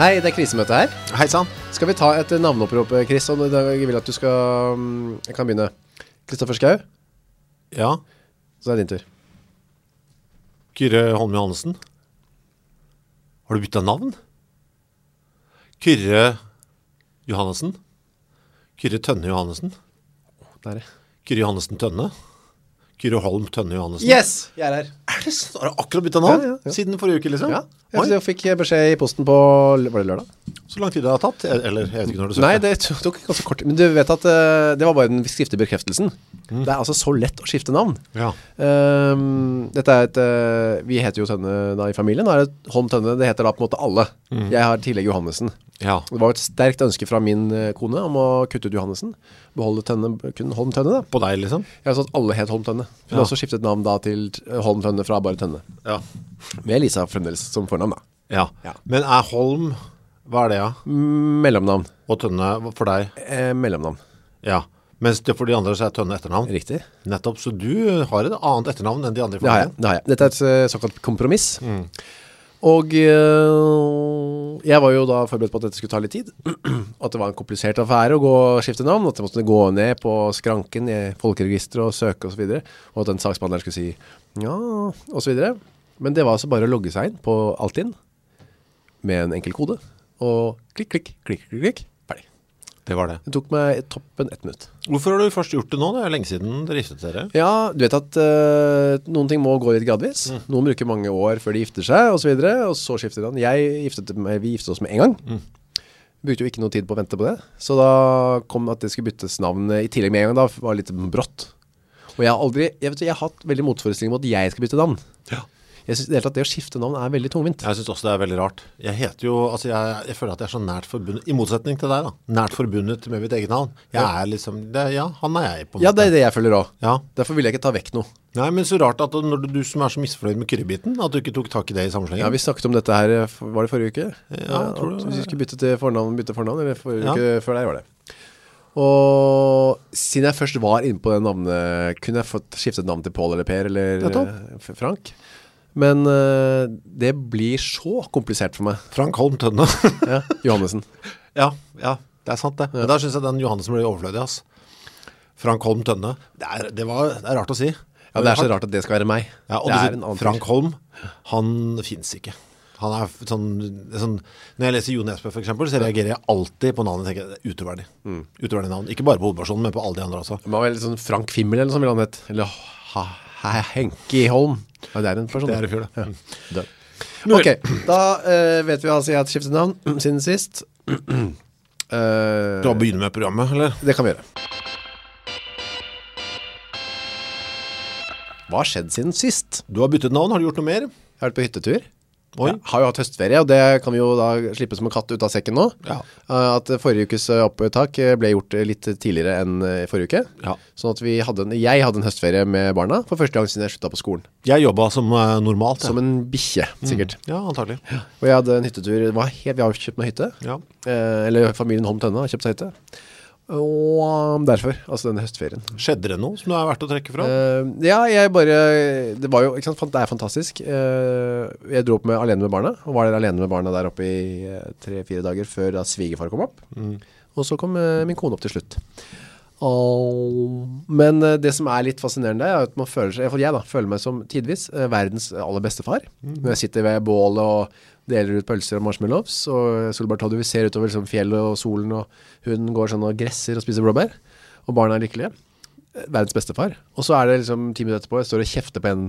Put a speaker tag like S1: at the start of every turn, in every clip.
S1: Hei, det er krisemøte her.
S2: Hei sann.
S1: Skal vi ta et eh, navneopprop, eh, Chris? Og da- jeg vil at du skal mm, Jeg kan begynne. Kristoffer Schau,
S2: Ja.
S1: så er det din tur.
S2: Kyrre Holm Johansen. Har du bytta navn? Kyrre Johannessen. Kyrre Tønne Johannessen.
S1: Der.
S2: Kyrre Johannessen Tønne. Kyrre Holm Tønne Johannessen.
S1: Yes! Jeg er her.
S2: Er det sant? Har du akkurat bytta navn?
S1: Ja, ja, ja.
S2: Siden forrige uke, liksom?
S1: Ja.
S2: Oi,
S1: Jeg fikk beskjed i posten på Var det lørdag?
S2: så lang tid det har tatt? Eller jeg vet ikke når du søkte.
S1: Nei, det to- tok ganske kort Men du vet at eh, det var bare den skriftlige bekreftelsen
S2: Mm.
S1: Det er altså så lett å skifte navn
S2: Ja.
S1: Ehm, Dette er et eh, Vi heter jo Tønne da i familien Da er det Holm Tønne, det heter da på en måte alle
S2: Mm.
S1: Jeg har tillegg Johannesen
S2: ja.
S1: Det var et sterkt ønske fra min eh, kone Om å kutte ut Johannesen Beholde Tønne, kun Holm Tønne da
S2: På deg, liksom?
S1: Jeg har sånn at alle het Holm Tønne Hun har
S2: Ja.
S1: også skiftet navn da til eh, Holm Tønne fra bare Tønne
S2: Ja.
S1: Med Lisa fremdeles som fornavn da
S2: ja.
S1: Ja.
S2: Men er Holm Hva er det, ja?
S1: Mellomnavn
S2: Og Tønne for deg?
S1: eh, Mellomnavn,
S2: Ja. Mens det for de andre så er Tønne etternavn?
S1: riktig
S2: Nettopp, så du har et annet etternavn enn de andre i
S1: Det har jeg,
S2: familien?
S1: det har jeg. Dette er et eh, såkalt kompromiss. Og eh, jeg var jo da forberedt på at dette skulle ta litt tid, at det var en komplisert affære å gå og skifte navn, at jeg måtte gå ned på skranken i folkeregisteret og søke og så videre, og at den saksbehandleren skulle si ja, og så videre. Men det var altså bare å logge seg inn på Altinn med en enkel kode, og klikk, klikk, klikk, klikk, klikk, ferdig.
S2: Det var det.
S1: Det tok meg toppen ett minutt.
S2: Hvorfor har du først gjort det nå? Det er jo lenge siden dere giftet dere.
S1: Ja, du vet at eh, noen ting må gå litt gradvis. Noen bruker mange år før de gifter seg, og så videre, og så skifter han. Jeg giftet, meg- vi giftet oss med en gang. Brukte jo ikke noe tid på å vente på det. Så da kom at det skulle byttes navn eh, i tillegg med en gang, da var litt brått. Og jeg har aldri, jeg vet du, jeg har hatt veldig motforestilling mot at jeg skal bytte navn.
S2: Ja.
S1: Jeg synes i det hele tatt det å skifte navn er veldig tungvint.
S2: Jeg synes også det er veldig rart. Jeg heter jo, altså jeg, jeg føler at jeg er så nært forbundet, i motsetning til deg da, nært forbundet med mitt eget navn. Jeg er liksom, det, ja, han er jeg på en
S1: Ja,
S2: måte.
S1: det er det jeg føler også.
S2: Ja.
S1: Derfor vil jeg ikke ta vekk noe.
S2: Nei, men så rart at når du, du som er så misfornøyd med kyrrebiten, at du ikke tok tak i det i
S1: Ja,
S2: sammenhengen.
S1: vi snakket om dette her, eh, f- var det forrige uke?
S2: Ja, jeg tror
S1: at
S2: det var-
S1: Hvis vi skulle bytte til fornavn, bytte fornavn, eller forrige
S2: Ja.
S1: uke før deg var det. Og siden jeg først var inne på det navnet, kunne jeg fått skiftet navn til Paul eller Per eller
S2: Nettopp.
S1: eh, F- Frank. Men eh, det blir så komplisert for meg.
S2: Frank Holm Tønne.
S1: Ja, Johannesen.
S2: ja, ja, det er sant det. Men da synes jeg den Johansen ble overflødig, ass. Frank Holm Tønne. Det er, det var, det er rart å si.
S1: Ja, det er så rart at det skal være meg.
S2: Ja, og
S1: det er
S2: dessuten,
S1: en annen
S2: Frank
S1: fyr.
S2: Holm, han finnes ikke. Han er f- sånn, sånn, når jeg leser Jo Nesbø for eksempel, så reagerer jeg alltid på navnet, tenker jeg, utroverdig.
S1: Mm.
S2: Utroverdig navn. Ikke bare på hovedpersonen, men på alle de andre også.
S1: Man var vel sånn Frank Fimmel eller noe sånt ville han hett. Eller ha, ha, Henki Holm. Ja, det er en person.
S2: Det er i fjor, det.
S1: Død.
S2: Nå vel.
S1: Ok, da eh, vet vi altså jeg har skiftet navn siden sist. Eh,
S2: Du har begynt med programmet, eller?
S1: det kan vi gjøre. Hva har skjedd siden sist?
S2: Du har byttet navn, har du gjort noe mer?
S1: Jeg har vært på hyttetur.
S2: Oi.
S1: Jeg har jo hatt høstferie, og det kan vi jo da slippe som en katt ut av sekken nå.
S2: Ja.
S1: Eh, At forrige ukes eh, opptak eh, ble gjort eh, litt tidligere enn eh, forrige uke.
S2: Ja.
S1: Sånn at vi hadde en, jeg hadde en høstferie med barna for første gang siden jeg slutta på skolen.
S2: Jeg jobbet som eh, normalt, ja.
S1: Som en bikkje,
S2: Mm.
S1: sikkert.
S2: Ja, antagelig.
S1: Og jeg hadde en hyttetur, det var helt, vi har jo kjøpt noen hytte.
S2: Ja.
S1: Eh, eller familien Holm Tønne har kjøpt seg hytte. Og um, derfor, altså denne høstferien.
S2: Skjedde det noe som det er verdt å trekke fra?
S1: Eh, ja, jeg bare, det var jo, ikke sant, fant- det er fantastisk. Eh, jeg dro opp med, alene med barna, og var der alene med barna der oppe i tre-fire dager før da svigefar kom opp. Og så kom eh, min kone opp til slutt. Og- men eh, det som er litt fascinerende er at man føler seg, i hvert fall jeg da, føler meg som tidvis eh, verdens aller beste far.
S2: Mm.
S1: Når jeg sitter ved bålet og deler ut pølser og marshmallows, og Solberg Toddy, vi ser utover liksom, fjellet og solen, og hun går sånn og gresser og spiser blåbær, og barna er lykkelige. Eh, Verdens beste far. Og så er det liksom ti minutter etterpå, jeg står og kjefter på en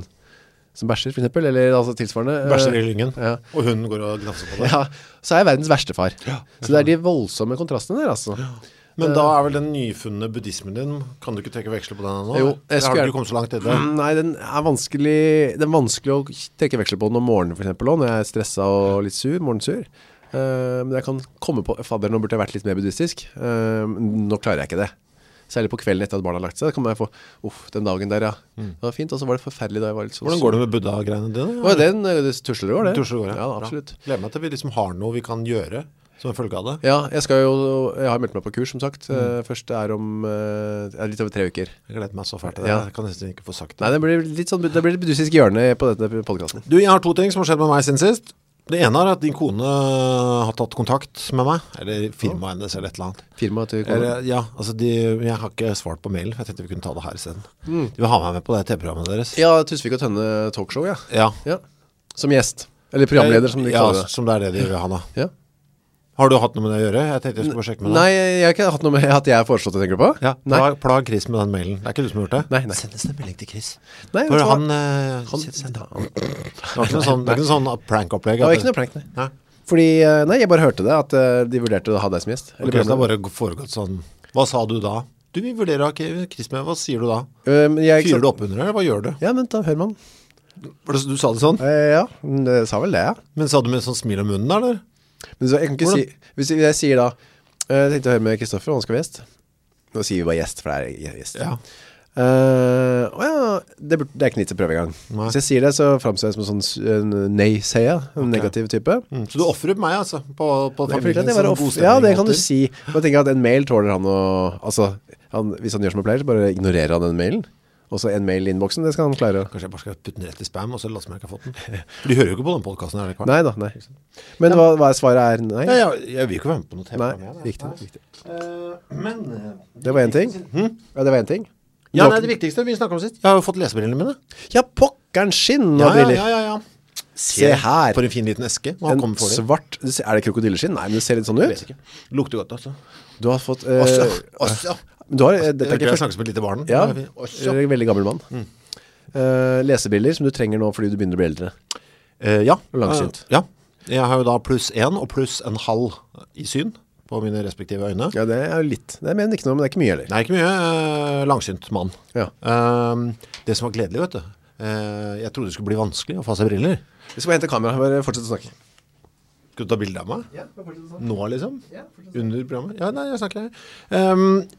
S1: som bæsjer, for eksempel, eller altså tilsvarende. eh,
S2: Bæsjer i lyngen,
S1: ja.
S2: og hun går og glanser på det.
S1: Ja, så er jeg verdens verste far.
S2: Ja, jeg
S1: så det er de voldsomme kontrastene der, altså.
S2: Men da er vel den nyfunne buddhismen din, kan du ikke trekke veksler på den nå?
S1: Jo, jeg skulle
S2: Har
S1: gjerne-
S2: du kommet så langt i det?
S1: Mm, Nei, den er vanskelig Den er vanskelig å trekke veksel på den om morgenen for eksempel også, Når jeg er stresset og litt sur, morgensur Eh, Men jeg kan komme på Fader, nå burde jeg vært litt mer buddhistisk Eh, men Nå klarer jeg ikke det Særlig på kvelden etter at barna har lagt seg Da kan man få, uff, den dagen der, ja Det var fint, og så var det forferdelig da jeg var litt så
S2: Mm. Hvordan går det med Buddha-greiene dine?
S1: Åh, den eh, det tusler går det
S2: Tusler går,
S1: ja,
S2: Bra.
S1: absolutt
S2: Gleder meg til vi liksom har noe vi kan gjøre som en følge av det.
S1: ja, jeg, skal jo, jeg har meldt meg på kurs som sagt
S2: Mm.
S1: Eh, Første er om eh, det er litt over tre uker
S2: Jeg gleder meg så fælt til det.
S1: Ja.
S2: Jeg kan nesten ikke få sagt det.
S1: Nei, det blir litt sånn Det blir litt buddhistisk hjørne på denne podcasten
S2: Du, jeg har to ting som har skjedd med meg siden sist. Det ene er at din kone har tatt kontakt med meg, eller firmaet hennes eller et eller annet.
S1: Firma til kona.
S2: Eller, ja, altså de, jeg har ikke svart på mailen, for jeg tenkte vi kunne ta det her i stedet.
S1: Mm.
S2: De vil ha meg med på det TV-programmet deres.
S1: Ja, Tusvik og Tønne talkshow, ja.
S2: Ja.
S1: ja. Som gjest. Eller programleder, som de
S2: ja,
S1: kaller det.
S2: som det er det de vil ha da.
S1: Ja.
S2: Har du hatt noe med det å gjøre? Jeg tenkte jeg skulle bare sjekke med deg.
S1: Nei, jeg har ikke hatt noe med at jeg har foreslått det, tenker du på?
S2: Ja,
S1: Nei.
S2: plag, plag Chris med den mailen. Det er ikke du som har gjort det?
S1: Nei, nei.
S2: Send oss en melding til Chris.
S1: Nei, vet
S2: For
S1: du hva?
S2: han, eh, shit, send han. Det var ikke noe sånn, det var ikke noe sånn prank-opplegg.
S1: Det var
S2: at
S1: ikke noe prank, nei.
S2: Nei.
S1: Fordi, eh, nei, jeg bare hørte det, at eh, de vurderte å ha deg som gjest. Eller
S2: Ok, så det har
S1: programleder.
S2: bare foregått sånn Hva sa du da? Du, vi vurderer å ha Chris med, hva sier du da?
S1: Eh, men jeg-
S2: Fyrer du opp under det, eller hva gjør du?
S1: Ja, men da hører man.
S2: Var det så- Du sa det sånn,
S1: Eh, ja, men det sa vel det, ja.
S2: men sa du med sånn smil om munnen da, eller?
S1: Men så, jeg kan ikke
S2: Hvordan?
S1: si, hvis jeg, jeg sier da, eh, jeg tenkte å høre med Kristoffer, han skal være gjest. Nå sier vi bare gjest, for det er gjest.
S2: Ja.
S1: Eh, å ja, det, burde- det er ikke nytt å prøve engang.
S2: Nei.
S1: Hvis jeg sier det, så fremstår jeg som en sånn s- en nei-seier, en negativ type.
S2: Mm, så du offrer meg altså, på, på
S1: Det er fordi at jeg
S2: familien
S1: bare off- Ja, det kan du si Men jeg tenker at en mail tåler han å Altså, han, hvis han gjør som han pleier Så bare ignorerer han den mailen Og så en mail i innboksen, det skal han klare
S2: Kanskje jeg bare skal putte den rett i spam, og så late som jeg ikke har fått den. For de hører jo ikke på den podcasten her, eller hva?
S1: Nei da, nei Men hva, hva er svaret er? Nei,
S2: Ja, jeg, jeg vil ikke være med på noe TV.
S1: nei,
S2: jeg, da.
S1: riktig, riktig
S2: Eh, men...
S1: Det var en ting Ja, det var en ting
S2: Hm? Ja, nei, det viktigste vi snakket om sist. Jeg har jo fått lesebrillene mine.
S1: Ja, pokkeren skinn og
S2: Ja, ja,
S1: briller
S2: ja, ja, ja.
S1: Se her
S2: For en fin liten eske. Hva
S1: En
S2: kommer for det?
S1: svart, du ser- er det krokodilleskinn? Nei, men det ser litt sånn ut
S2: ikke. Lukter godt, altså.
S1: Du har fått eh,
S2: Også, også.
S1: Du har, eh, dette
S2: Dette
S1: er ikke
S2: jeg
S1: først
S2: snakke som et lite barn.
S1: Ja, du
S2: Det er fint. Også.
S1: er en veldig gammel mann Eh, Lesebriller som du trenger nå fordi du begynner å bli eldre
S2: Eh, ja.
S1: Og langsynt.
S2: Eh, ja. Jeg har jo da pluss en og pluss en halv i syn på mine respektive øyne.
S1: Ja, det er jo litt Det mener ikke noe, men det er ikke mye heller
S2: Nei, ikke mye eh, langsynt mann.
S1: Ja.
S2: Eh, det som var gledelig, vet du. eh, jeg trodde det skulle bli vanskelig å få seg briller.
S1: Vi skal bare hente kamera, bare fortsette å snakke
S2: Skal du ta bilde av meg?
S1: Ja, bare fortsette å snakke
S2: Nå, liksom?
S1: Ja, fortsett.
S2: Under programmet? Ja, nei, jeg snakker her. Eh,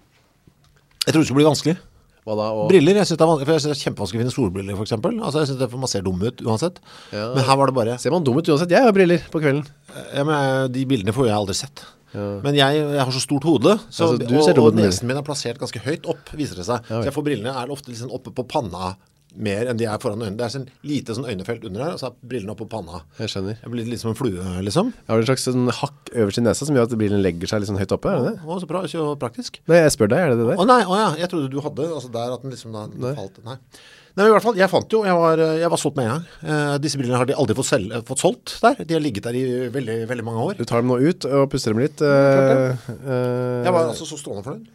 S2: jeg trodde det skulle bli vanskelig.
S1: Hva da? Og...
S2: Briller, jeg synes det er vanskelig, for jeg synes det er kjempevanskelig å finne solbriller for eksempel. Altså, jeg synes det er for man ser dum ut uansett.
S1: Ja.
S2: Men her var det bare,
S1: Ser man dum ut uansett? Jeg har briller på kvelden
S2: ja, men jeg- de bildene får jeg aldri sett.
S1: Ja.
S2: Men jeg, jeg har så stort hode, så,
S1: Altså, du
S2: og,
S1: ser dum ut
S2: og
S1: med
S2: nesen min er plassert ganske høyt opp, viser det seg.
S1: vel.
S2: Så jeg får brillene er ofte liksom oppe på panna mer enn de er foran øynene. Det er sånn lite sånn øynefelt under her, og så er brillene oppe på panna.
S1: Jeg skjønner
S2: Jeg blir litt som en flue, liksom.
S1: Jeg har en slags sånn hakk øverst i nesa Som gjør at brillene legger seg litt sånn høyt oppe, er det det?
S2: Å, så bra, så praktisk.
S1: Nei, jeg spør deg, er det det der?
S2: Å nei, å ja, jeg trodde du hadde Altså der at den liksom da falt Nei, nei men i hvert fall, jeg fant jo Jeg var, eh, jeg var solgt med en gang Eh, Disse brillene har de aldri fått, selge, fått solgt der De har ligget der i veldig, veldig mange år
S1: Du tar dem nå ut og puster dem litt eh, eh,
S2: Jeg var altså så stående for den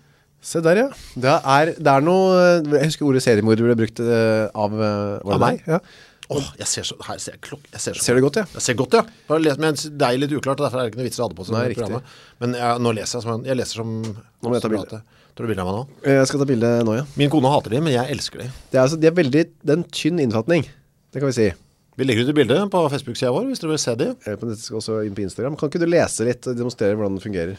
S1: Se der, ja det er, det er noe Jeg husker ordet seriemord ble brukt eh, av eh, var det
S2: Av meg?
S1: deg? Ja.
S2: Åh, jeg ser så Her ser jeg klokk Jeg ser så
S1: Ser du godt, ja?
S2: Jeg ser godt, ja Bare les- Men det er litt uklart og Derfor er det ikke noe vitser å ha det på seg
S1: Nei,
S2: i
S1: riktig.
S2: programmet. Men jeg, nå leser jeg som en Jeg leser som Nå
S1: må jeg ta bilde.
S2: Tar du bilder av meg nå?
S1: Eh, Jeg skal ta bilde nå, ja
S2: Min kone hater de, men jeg elsker de
S1: Det er, altså, de er veldig, det er en tynn innfatning Det kan vi si
S2: Vi legger ut et bilde på Facebook-siden vår Hvis dere vil se de
S1: Eh, Men dette skal også inn på Instagram. Kan ikke du lese litt og demonstrere hvordan det fungerer?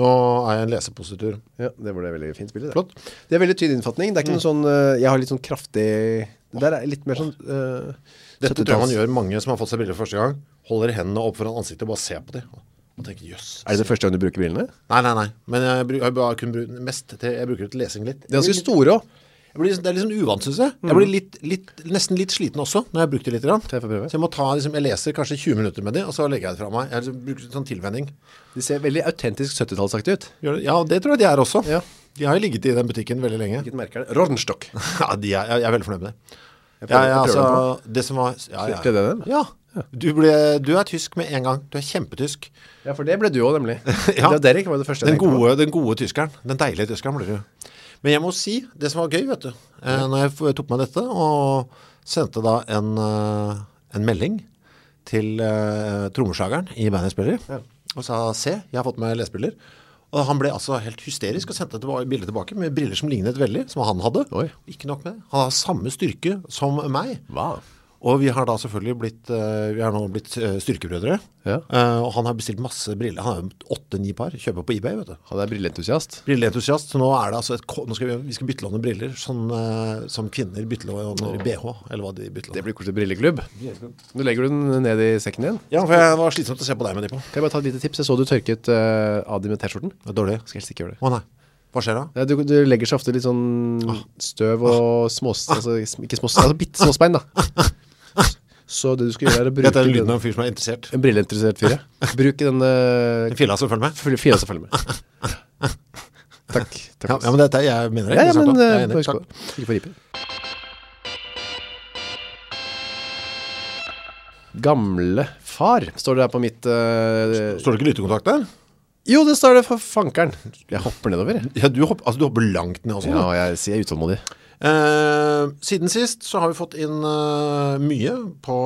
S2: Nå er jeg en lesepositur
S1: Ja, det var det veldig fint bilde. det.
S2: Flott.
S1: Det er veldig tynn innfatning. Det er ikke noen sånn, eh, jeg har litt sånn kraftig, det der er litt mer sånn eh,
S2: Dette tror jeg man
S1: 70-talls.
S2: gjør mange som har fått seg briller for første gang Holder hendene opp foran ansiktet og bare ser på dem Og tenker, jøss
S1: Er det det første gang du bruker brillene?
S2: Nei, nei, nei Men jeg, bru- jeg, bare kun bru- mest til, jeg bruker det til lesing litt
S1: De er ganske store også.
S2: Jeg blir liksom- Det er litt sånn uvant, synes jeg Jeg blir litt, litt, nesten litt sliten også Når jeg har brukt det litt grann.
S1: Mm. jeg får prøve.
S2: Så jeg må ta, liksom, jeg leser kanskje 20 minutter med dem Og så legger jeg det fra meg Jeg liksom bruker sånn tilvenning
S1: De ser veldig autentisk 70-tallsaktig ut.
S2: Gjør det- Ja, det tror jeg de er også
S1: Ja.
S2: De har jo ligget i den butikken veldig lenge
S1: Hvilket merke er det? Rodenstock.
S2: Ja, de er, jeg, jeg er veldig fornøyd med det
S1: Jeg
S2: ja,
S1: prøver-
S2: ja,
S1: jeg prøver
S2: altså, det som var ja, ja.
S1: Ble det den?
S2: Ja, du, ble, du er tysk med en gang Du er kjempetysk
S1: Ja, for det ble du også nemlig.
S2: Ja.
S1: Det var Derek var det første jeg
S2: Den
S1: tenkte på.
S2: gode, den gode tyskeren, den deilige tyskeren blir det jo. Men jeg må si, det som var gøy, vet du, eh, når jeg f- tok meg dette og sendte da en, eh, en melding til eh, trommeslageren i bandet jeg spiller, i, og sa, se, jeg har fått meg lesbriller. Og han ble altså helt hysterisk og sendte tilba- bildet tilbake med briller som lignet veldig, som han hadde.
S1: Oi.
S2: Ikke nok med det. Han har samme styrke som meg.
S1: Hva?
S2: Og vi har da selvfølgelig blitt, eh, vi har nå blitt eh, styrkebrødre.
S1: Ja.
S2: Eh, og han har bestilt masse briller. Han har jo åtte-ni par, kjøper på eBay, vet du.
S1: Han er brilleentusiast.
S2: Brilleentusiast, så nå er det altså et, ko- nå skal vi, vi skal bytte lån med briller, sånn eh, som kvinner bytter lån med BH, eller hva de bytter
S1: Det
S2: lån.
S1: blir kort til brilleklubb. Nå legger du den ned i sekken din.
S2: Ja, for jeg det var slitsomt å se på deg med de på.
S1: Kan jeg bare ta et lite tips? Jeg så du tørket eh, av dem med t-skjorten.
S2: Det er dårlig.
S1: Skal helst ikke gjøre det.
S2: Å nei, hva skjer da?
S1: Ja, du, du legger seg ofte litt
S2: Ah.
S1: sånn støv og smås, altså, sm- ikke smås, altså bitte småspein da. Så det du skal gjøre er å bruke
S2: Dette er lyden
S1: den-
S2: av en fyr som er interessert.
S1: En brilleinteressert fyr, ja. Bruk den eh,
S2: En filla som følger med.
S1: f- fila som følger med. Takk. takk
S2: Ja, ja, men dette, jeg mener det.
S1: ja, ja,
S2: interessant,
S1: men
S2: da. Jeg er
S1: eh,
S2: enig.
S1: bare husk
S2: Takk.
S1: på. Ikke for riper. Gamle far, står det her på mitt eh,
S2: Står det ikke lyttekontakt der?
S1: Jo, det står det for fankeren. Jeg hopper nedover, jeg.
S2: Ja, du hopper, altså, du hopper langt ned også.
S1: Ja,
S2: du.
S1: og jeg sier utålmodig.
S2: Eh, siden sist så har vi fått inn eh, mye på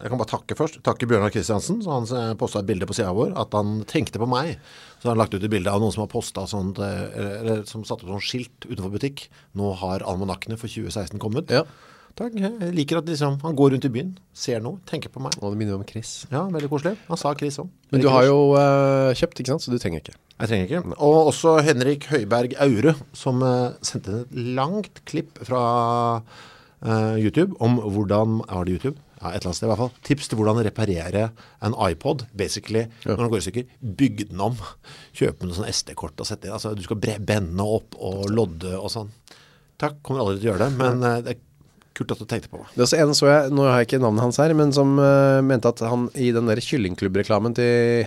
S2: Jeg kan bare takke først. Takke Bjørnar Kristiansen. Så han eh, posta et bilde på sida vår at han tenkte på meg. Så har han lagt ut et bilde av noen som har posta sånt eh, eller, eller som satte opp sånn skilt utenfor butikk. Nå har almanakkene for 2016 kommet.
S1: Ja.
S2: Takk. Jeg liker at liksom, han går rundt i byen, ser noe, tenker på meg.
S1: Og det minner meg om Chris.
S2: Ja, veldig koselig. Han sa Chris òg.
S1: Men du har jo eh, kjøpt, ikke sant? Så du trenger ikke.
S2: Jeg trenger ikke. Og også Henrik Høiberg Aure, som eh, sendte inn et langt klipp fra eh, YouTube om hvordan Var det YouTube? Ja, et eller annet sted i hvert fall. Tips til hvordan reparere en iPod, basically, når den går i stykker. Bygg den om. Kjøpe noen sånn SD-kort og sette inn. Altså, du skal bre bende opp og lodde og sånn. Takk, kommer aldri til å gjøre det, men eh, det er kult at du tenkte på meg.
S1: Det er også en så jeg, nå har jeg ikke navnet hans her, men som eh, mente at han i den der kyllingklubbreklamen til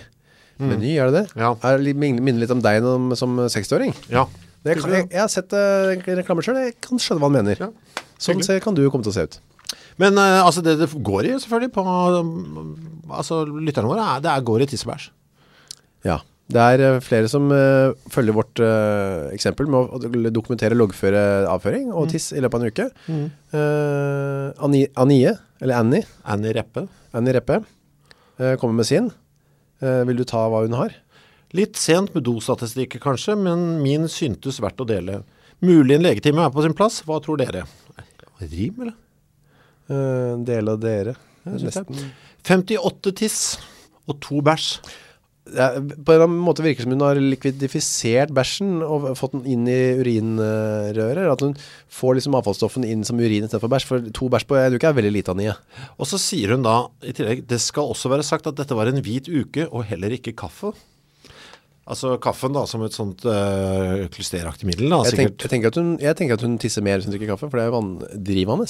S1: Meny, er det det?
S2: Ja.
S1: Er, litt- minner minner litt om deg når- som 60-åring.
S2: Ja.
S1: Det kan, jeg, jeg har sett eh, reklamer selv, jeg kan skjønne hva han mener.
S2: Ja.
S1: Sånn ser, kan du komme til å se ut.
S2: Men eh, altså, det det går i, selvfølgelig, på um, altså, lytterne våre, er, det er, går i tiss og bæsj.
S1: Ja. Det er eh, flere som eh, følger vårt eh, eksempel med å å dokumentere og loggføre avføring
S2: Mm.
S1: og tiss i løpet av en uke. Eh, Ani- Anie, eller Annie,
S2: Annie Reppe.
S1: Annie Reppe, eh, kommer med sin. Eh, vil du ta hva hun har?
S2: Litt sent med dostatistikker kanskje, men min syntes verdt å dele. Mulig en legetime er på sin plass, hva tror dere? Rim, eller?
S1: Eh, En del av dere
S2: synes jeg.
S1: Nesten.
S2: 58 tiss og to bæsj.
S1: Det er- På en eller annen måte virker det som hun har likvidifisert bæsjen Og fått den inn i urinrøret eller At hun får liksom avfallsstoffen inn som urin i stedet for bæsj For to bæsj på en uke er veldig lite av nye
S2: Og så sier hun da, i tillegg, det skal også være sagt at dette var en hvit uke, og heller ikke kaffe. Altså kaffen da, som et sånt øh, klysteraktig middel da,
S1: jeg, tenk,
S2: sikkert.
S1: jeg, tenker at hun, jeg tenker at hun tisser mer hvis hun drikker kaffe For det er jo vanndrivende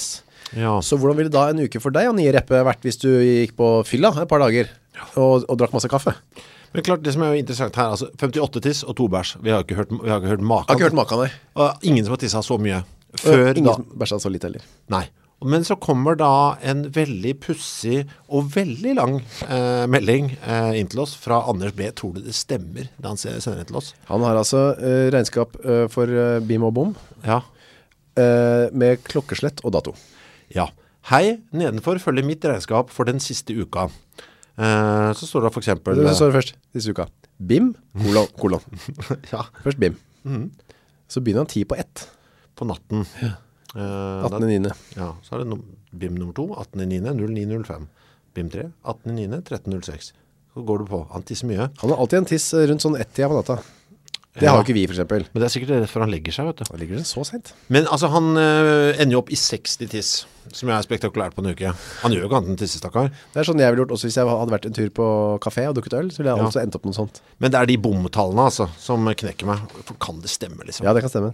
S2: Ja.
S1: Så hvordan ville da en uke for deg, Annie Reppe, vært Hvis du gikk på fylla et par dager og, og drakk masse kaffe?
S2: Men klart, det som er jo interessant her, altså 58 tiss og to bæsj. Vi har ikke hørt, vi har ikke hørt
S1: Jeg har
S2: maken.
S1: ikke hørt maken av deg
S2: Og ingen som har tisset så mye. Før
S1: Ingen
S2: da.
S1: som bæsja så lite heller
S2: Nei. Men så kommer da en veldig pussig og veldig lang eh, melding eh, inn til oss fra Anders B. Tror du det stemmer det han se- sender inn til oss?
S1: Han har altså eh, regnskap eh, for eh, BIM og BOM
S2: Ja.
S1: eh, Med klokkeslett og dato
S2: Ja. Hei, nedenfor følger mitt regnskap for den siste uka. Eh, så står det for eksempel...
S1: Det står det først, siste uka BIM, kolon, kolon
S2: eh, ja,
S1: Først BIM
S2: Mhm.
S1: Så begynner han 10 på 1
S2: på natten. Eh, da-
S1: 18. 9.
S2: Ja, så er det num BIM nummer 2, 18.9.09.05. BIM 3, 18.9.13.06. Så går du på. Han tisser mye.
S1: Han har alltid en tiss rundt sånn 1-tida på natta Det har jo ikke vi for eksempel
S2: Men det er sikkert rett før han legger seg, vet du.
S1: Da ligger det så sent
S2: Men altså, han øh, ender jo opp i 60 tiss, som jo er spektakulært på en uke. Han gjør jo ikke annet enn tissestakkar.
S1: Det er sånn jeg ville gjort også hvis jeg hadde vært en tur på kafé og dukket øl Så ville jeg også endt opp med noe sånt
S2: Men det er de bomtallene, altså, som knekker meg. For kan det stemme, liksom?
S1: Ja, det kan stemme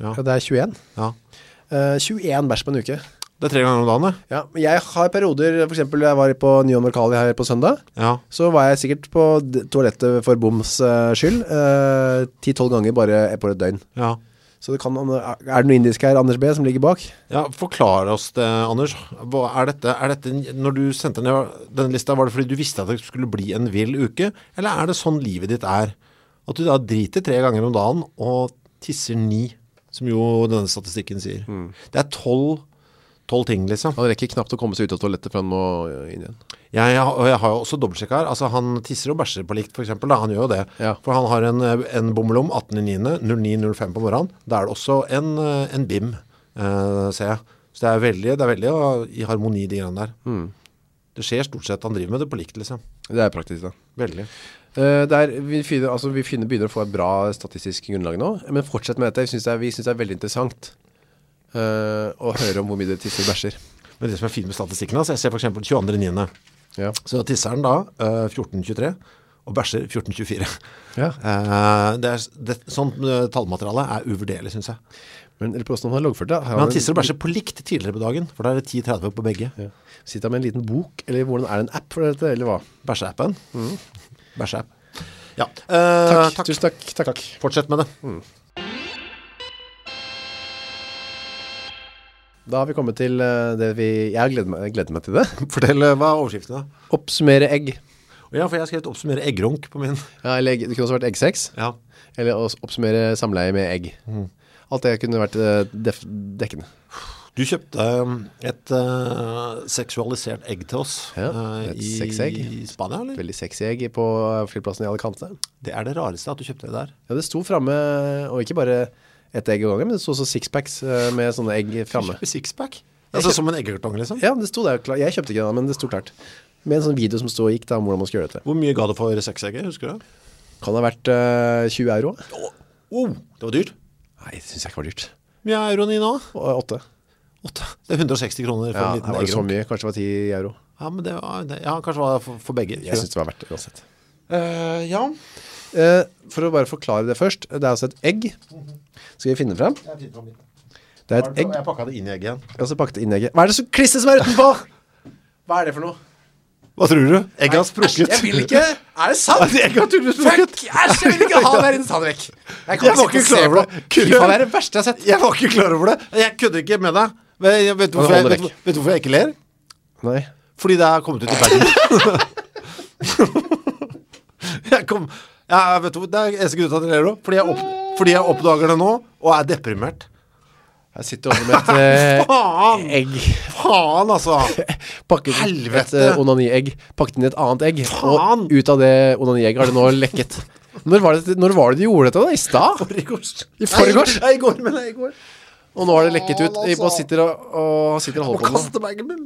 S2: Ja.
S1: Ja, det er 21
S2: Ja.
S1: Eh, 21 bæsj på en uke
S2: Det er tre ganger om dagen, det.
S1: Ja, men jeg har perioder For eksempel jeg var på Nyon Mercalli her på søndag
S2: Ja.
S1: Så var jeg sikkert på d- toalettet for boms eh, skyld eh, 10-12 ganger bare på et døgn
S2: ja.
S1: Så det kan, eh, er det noe indisk her, Anders B, som ligger bak?
S2: Ja, forklar oss det, Anders. Hva er dette? Er dette, når du sendte ned denne lista, var det fordi du visste at det skulle bli en vill uke? Eller er det sånn livet ditt er? At du da driter tre ganger om dagen og tisser ni, som jo denne statistikken sier. Det er tolv, tolv ting, liksom.
S1: Han rekker knapt å komme seg ut av toalettet, for han må eh, inn igjen.
S2: Jeg, jeg, og jeg har jo også dobbeltsjekk her. Altså, han tisser og bæsjer på likt, for eksempel. Da. Han gjør jo det.
S1: Ja.
S2: For han har en, eh, en bommelom 18.09.09.05 på morgenen. Da er det også en, eh, en BIM, eh, ser jeg. Så det er veldig, det er veldig ja, i harmoni, de greiene der. Det skjer stort sett. Han driver med det på likt, liksom.
S1: Det er praktisk, da.
S2: Veldig.
S1: Eh, det er- vi finner, altså, vi finner, begynner å få et bra statistisk grunnlag nå, men fortsett med dette. Vi synes det er, vi synes det er veldig interessant eh, å høre om hvor mye det tisser og bæsjer.
S2: Men det som er fint med statistikken, altså, jeg ser for eksempel 22.9.
S1: Ja.
S2: Så tisser han da eh, 14.23, og bæsjer 1424.
S1: Ja.
S2: Eh, det er, det, sånt eh, tallmateriale er uvurderlig, synes jeg.
S1: Men eller på hvordan han har loggført det. har
S2: Men
S1: han-
S2: han tisser og bæsjer på likt tidligere på dagen, for da er det 10.30 på begge.
S1: Ja. Sitter han med en liten bok, eller hvordan er det en app for dette, eller hva?
S2: Bæsjeappen. Bæsjeapp. Mm. Ja. Eh,
S1: Takk, tusen takk. takk.
S2: Fortsett med det.
S1: Da har vi kommet til eh, det vi, jeg gleder meg, jeg gleder meg til det.
S2: Fortell eh, hva er overskriften da.
S1: Oppsummere egg.
S2: Ja, for jeg har skrevet oppsummere eggrunk på min.
S1: Ja, eller egg, det kunne også vært eggsex,
S2: Ja.
S1: eller å s- oppsummere samleie med egg. Alt det kunne vært eh, def, dekkende.
S2: Du kjøpte um, et uh, seksualisert egg til oss
S1: Ja,
S2: uh,
S1: et
S2: i
S1: sexegg.
S2: Spania, eller?
S1: Veldig sexy egg på eh, flyplassen i Alicante.
S2: Det er det rareste at du kjøpte det der.
S1: Ja, det sto fremme, og ikke bare et egg om gangen, men det sto også sixpacks eh, med sånne egg fremme.
S2: Kjøpte sixpack. Altså som en eggekartong, liksom.
S1: Ja, det sto der, kla- jeg kjøpte ikke det, men det sto klart. Med en sånn video som stod og gikk da, om hvordan man skulle gjøre dette.
S2: Hvor mye ga du for sexegget, husker du? det?
S1: Kan det ha vært eh, 20 euro?
S2: Å, oh, det var dyrt.
S1: Nei, det synes jeg ikke var dyrt.
S2: Mye er euroen i nå?
S1: Å, Åtte.
S2: Åtte. Det er 160 kroner
S1: Ja,
S2: for en
S1: her
S2: liten
S1: var det så
S2: eggerunk.
S1: mye, kanskje det var 10 euro.
S2: Ja, men det var, det, ja, kanskje det var for, for begge.
S1: Jeg synes det var verdt det, uansett.
S2: Eh, ja.
S1: Eh, for å bare forklare det først, det er altså et egg. Skal vi finne frem?
S2: Jeg
S1: Det er et egg,
S2: pakka det inn i egget igjen.
S1: og så pakket inn egget. Hva er det som klisse som er utenpå? Hva er det for noe?
S2: Hva tror du? Egget har sprukket.
S1: Jeg vil ikke! Er det sant?
S2: Egget har tydeligvis sprukket.
S1: Fuck! Æsj, jeg vil ikke ha det her inne, ta det vekk. Jeg
S2: Jeg var ikke klar over det.
S1: Fy faen, det er det verste jeg har sett.
S2: Jeg var ikke klar over det. Jeg kødder ikke med deg. Men jeg vet, du hvorfor jeg,
S1: holder
S2: vet, du- vet du hvorfor jeg ikke ler?
S1: Nei.
S2: Fordi det er kommet ut i Bergen. jeg kom, ja, vet du, hvor- det er eneste grunn til at jeg ler nå. Fordi jeg, opp, fordi jeg oppdager det nå, og er deprimert.
S1: Jeg sitter over med et
S2: Faen!
S1: eh, egg.
S2: Faen, altså!
S1: Pakket
S2: Helvete!
S1: et eh, onaniegg. Pakket inn i et annet egg.
S2: Faen!
S1: Og ut av det onaniegget har det nå lekket. Når var, det, når var det du gjorde dette da? I stad?
S2: I gårs.
S1: I forgårs?
S2: Nei, i går, men i går.
S1: Og nå har det lekket ut.
S2: Faen, altså.
S1: Og sitter og, og, sitter og
S2: Må
S1: holder på med det.
S2: kaste bagen min.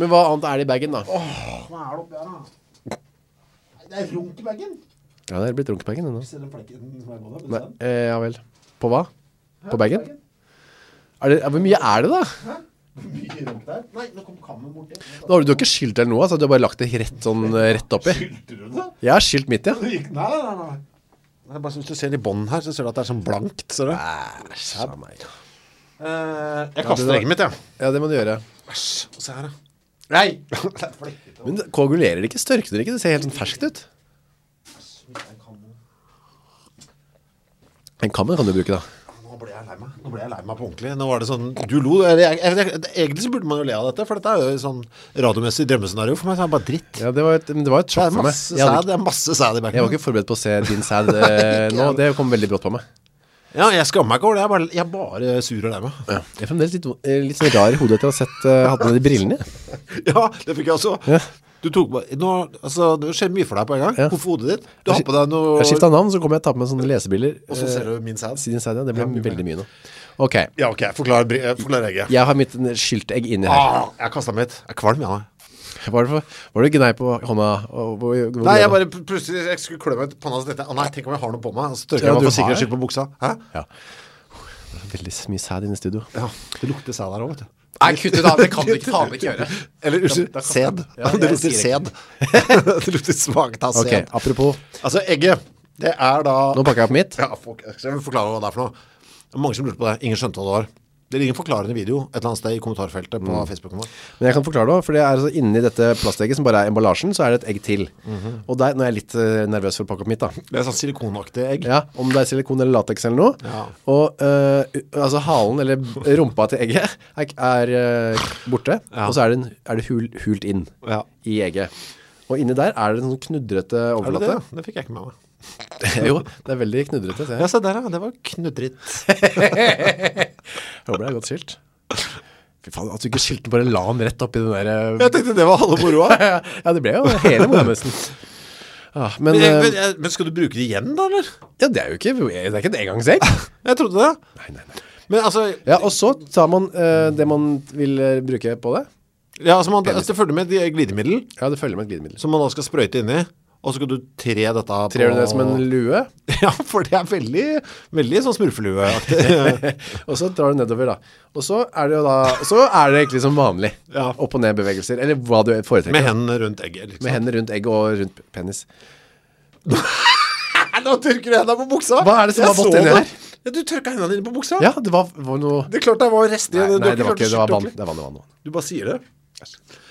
S1: Men hva annet er det i bagen, da?
S2: Hva er det oppi her, da? Nei, Det er runk i bagen.
S1: Ja, det er blitt runkebagen ennå.
S2: Ser du den flekken som er på den?
S1: Nei, eh, ja vel. På hva? På bagen? Er det, ja, hvor mye er det, da?
S2: Mye runk der. Nei, nå kom kammen borti.
S1: Nå har du, du har ikke skylt eller noe, altså, du har bare lagt det rett, sånn, eh, rett oppi.
S2: Skyldte du det?
S1: Jeg har skylt mitt, ja.
S2: Det gikk- Nei, nei, nei, nei. Jeg bare synes du ser i bånden her, så ser du at det er sånn blankt, ser du? Eh,
S1: Æsj, sa meg.
S2: jeg
S1: kaster egget
S2: mitt, ja.
S1: Ja, det må du gjøre.
S2: Æsj, se her, da. Nei! det er flekkete. altså.
S1: Men det koagulerer det ikke, størkner det ikke, det ser helt sånn ferskt ut. En kammer kan du bruke, da.
S2: Nå ble jeg lei meg. Nå ble jeg lei meg på ordentlig. Nå var det sånn, du lo. eller Jeg, jeg, jeg, egentlig så burde man jo le av dette, for dette er jo sånn radiomessig drømmescenario for meg, så er det bare dritt.
S1: Ja, det var et, men det var et
S2: Det
S1: sjokk
S2: er
S1: for meg.
S2: masse
S1: Jeg, hadde,
S2: sæd, det er masse sæd i
S1: ikke- jeg var
S2: backen.
S1: ikke forberedt på å se din sæd eh, nå, det kom veldig brått på meg.
S2: Ja, jeg skammer meg ikke over det, jeg er bare, jeg er bare sur og lei meg.
S1: Jeg er fremdeles litt, eh, litt sånn rar i hodet etter å ha sett, eh, hatt med de brillene.
S2: Ja, det fikk jeg også.
S1: Ja.
S2: Du tok bare, nå, altså, det skjer mye for deg på en gang.
S1: Ja.
S2: Hvorfor hodet ditt? Du har på deg noe...
S1: Jeg skiftet navn, så kommer jeg til å ta på meg sånne lesebriller.
S2: Og så ser du min sæd.
S1: Siden sæd, ja. Det ble veldig mye nå. Ok,
S2: Ja, ok, forklar, bri- eh, forklar egget.
S1: jeg har mitt skyltegg inni her.
S2: Ah, jeg kastet mitt. Jeg er kvalm, jeg nå.
S1: Hva er det for, var det gnei på hånda? Og, hvor, hvor,
S2: Ah. Nei, jeg bare pl- plutselig jeg skulle klø meg ut panna, så tenkte jeg, ah, nei, tenk om jeg har noe på meg. Og så tørker
S1: Ja,
S2: jeg meg
S1: du
S2: for sikkerhets
S1: har.
S2: skyld på buksa. Hæ?
S1: Ja. Det er Veldig mye sæd inne i studio.
S2: Ja, det lukter sæd her også, vet du.
S1: Nei, kutt ut av, det kan du ikke faen ikke gjøre.
S2: Eller, unnskyld,
S1: da-
S2: sæd.
S1: Ja,
S2: det
S1: jeg
S2: lukter
S1: sier
S2: sæd. det lukter svagt av
S1: Ok,
S2: sæd.
S1: apropos,
S2: Altså, egget, det er da...
S1: nå pakker jeg opp mitt.
S2: Ja, fuck, jeg skal forklare hva det er for noe. Det er mange som lurte på det. Ingen skjønte hva det var. Det ligger en forklarende video et eller annet sted i kommentarfeltet på Facebooken vår.
S1: Men jeg kan forklare det også, for det er altså inni dette plastegget som bare er emballasjen, så er det et egg til. Og der, nå er jeg litt eh, nervøs for å pakke opp mitt da.
S2: Det er sånn silikonaktig egg.
S1: Ja, om det er silikon eller latex eller noe.
S2: Ja.
S1: Og eh, u- altså halen eller rumpa til egget er, er eh, borte,
S2: Ja.
S1: og så er det, en, er det hul, hult inn
S2: Ja.
S1: i egget. Og inni der er det en sånn knudrete
S2: Er det
S1: overflate.
S2: det? Det fikk jeg ikke med meg.
S1: jo, det er veldig knudrete, ser jeg.
S2: Ja, se der, ja. Det var knudret.
S1: Jeg håper det er godt skilt. Fy faen, at du ikke skilte bare la han rett opp i den der... eh,
S2: Jeg tenkte det var halve moroa.
S1: ja, det ble jo hele mora nesten. Ah, men,
S2: Men,
S1: eh,
S2: men, men skal du bruke det igjen, da, eller?
S1: ja, det er jo ikke, det er ikke et engangsegg.
S2: Jeg trodde det.
S1: Nei, nei, nei.
S2: Men altså,
S1: Ah. Ja, og så tar man eh, det man vil eh, bruke på det.
S2: ja, altså man, altså, det følger med et glidemiddel
S1: Ja, det følger med et glidemiddel.
S2: som man da skal sprøyte inni, og så skal du tre dette på
S1: Trer du det som en lue,
S2: Ja, for det er veldig, veldig sånn smurfelueaktig.
S1: og så drar du nedover da. Og så er det jo da, så er det egentlig som vanlig.
S2: Ja.
S1: Opp og ned bevegelser, eller hva du foretrekker.
S2: Med hendene rundt egget, liksom.
S1: Med hendene rundt egg og rundt penis.
S2: Nå tørker du hendene på buksa
S1: Hva er det som
S2: Jeg
S1: har vått
S2: så
S1: inni
S2: det.
S1: her?
S2: Ja, du tørka hendene dine på buksa
S1: Ja, det var, var noe
S2: Det er klart det var rester i
S1: Nei,
S2: det, du
S1: nei
S2: har
S1: det var
S2: klart
S1: ikke Det
S2: å
S1: var
S2: skjorte
S1: vann Det er vann, det
S2: ordentlig.
S1: er vann, det er vann.
S2: Du bare sier det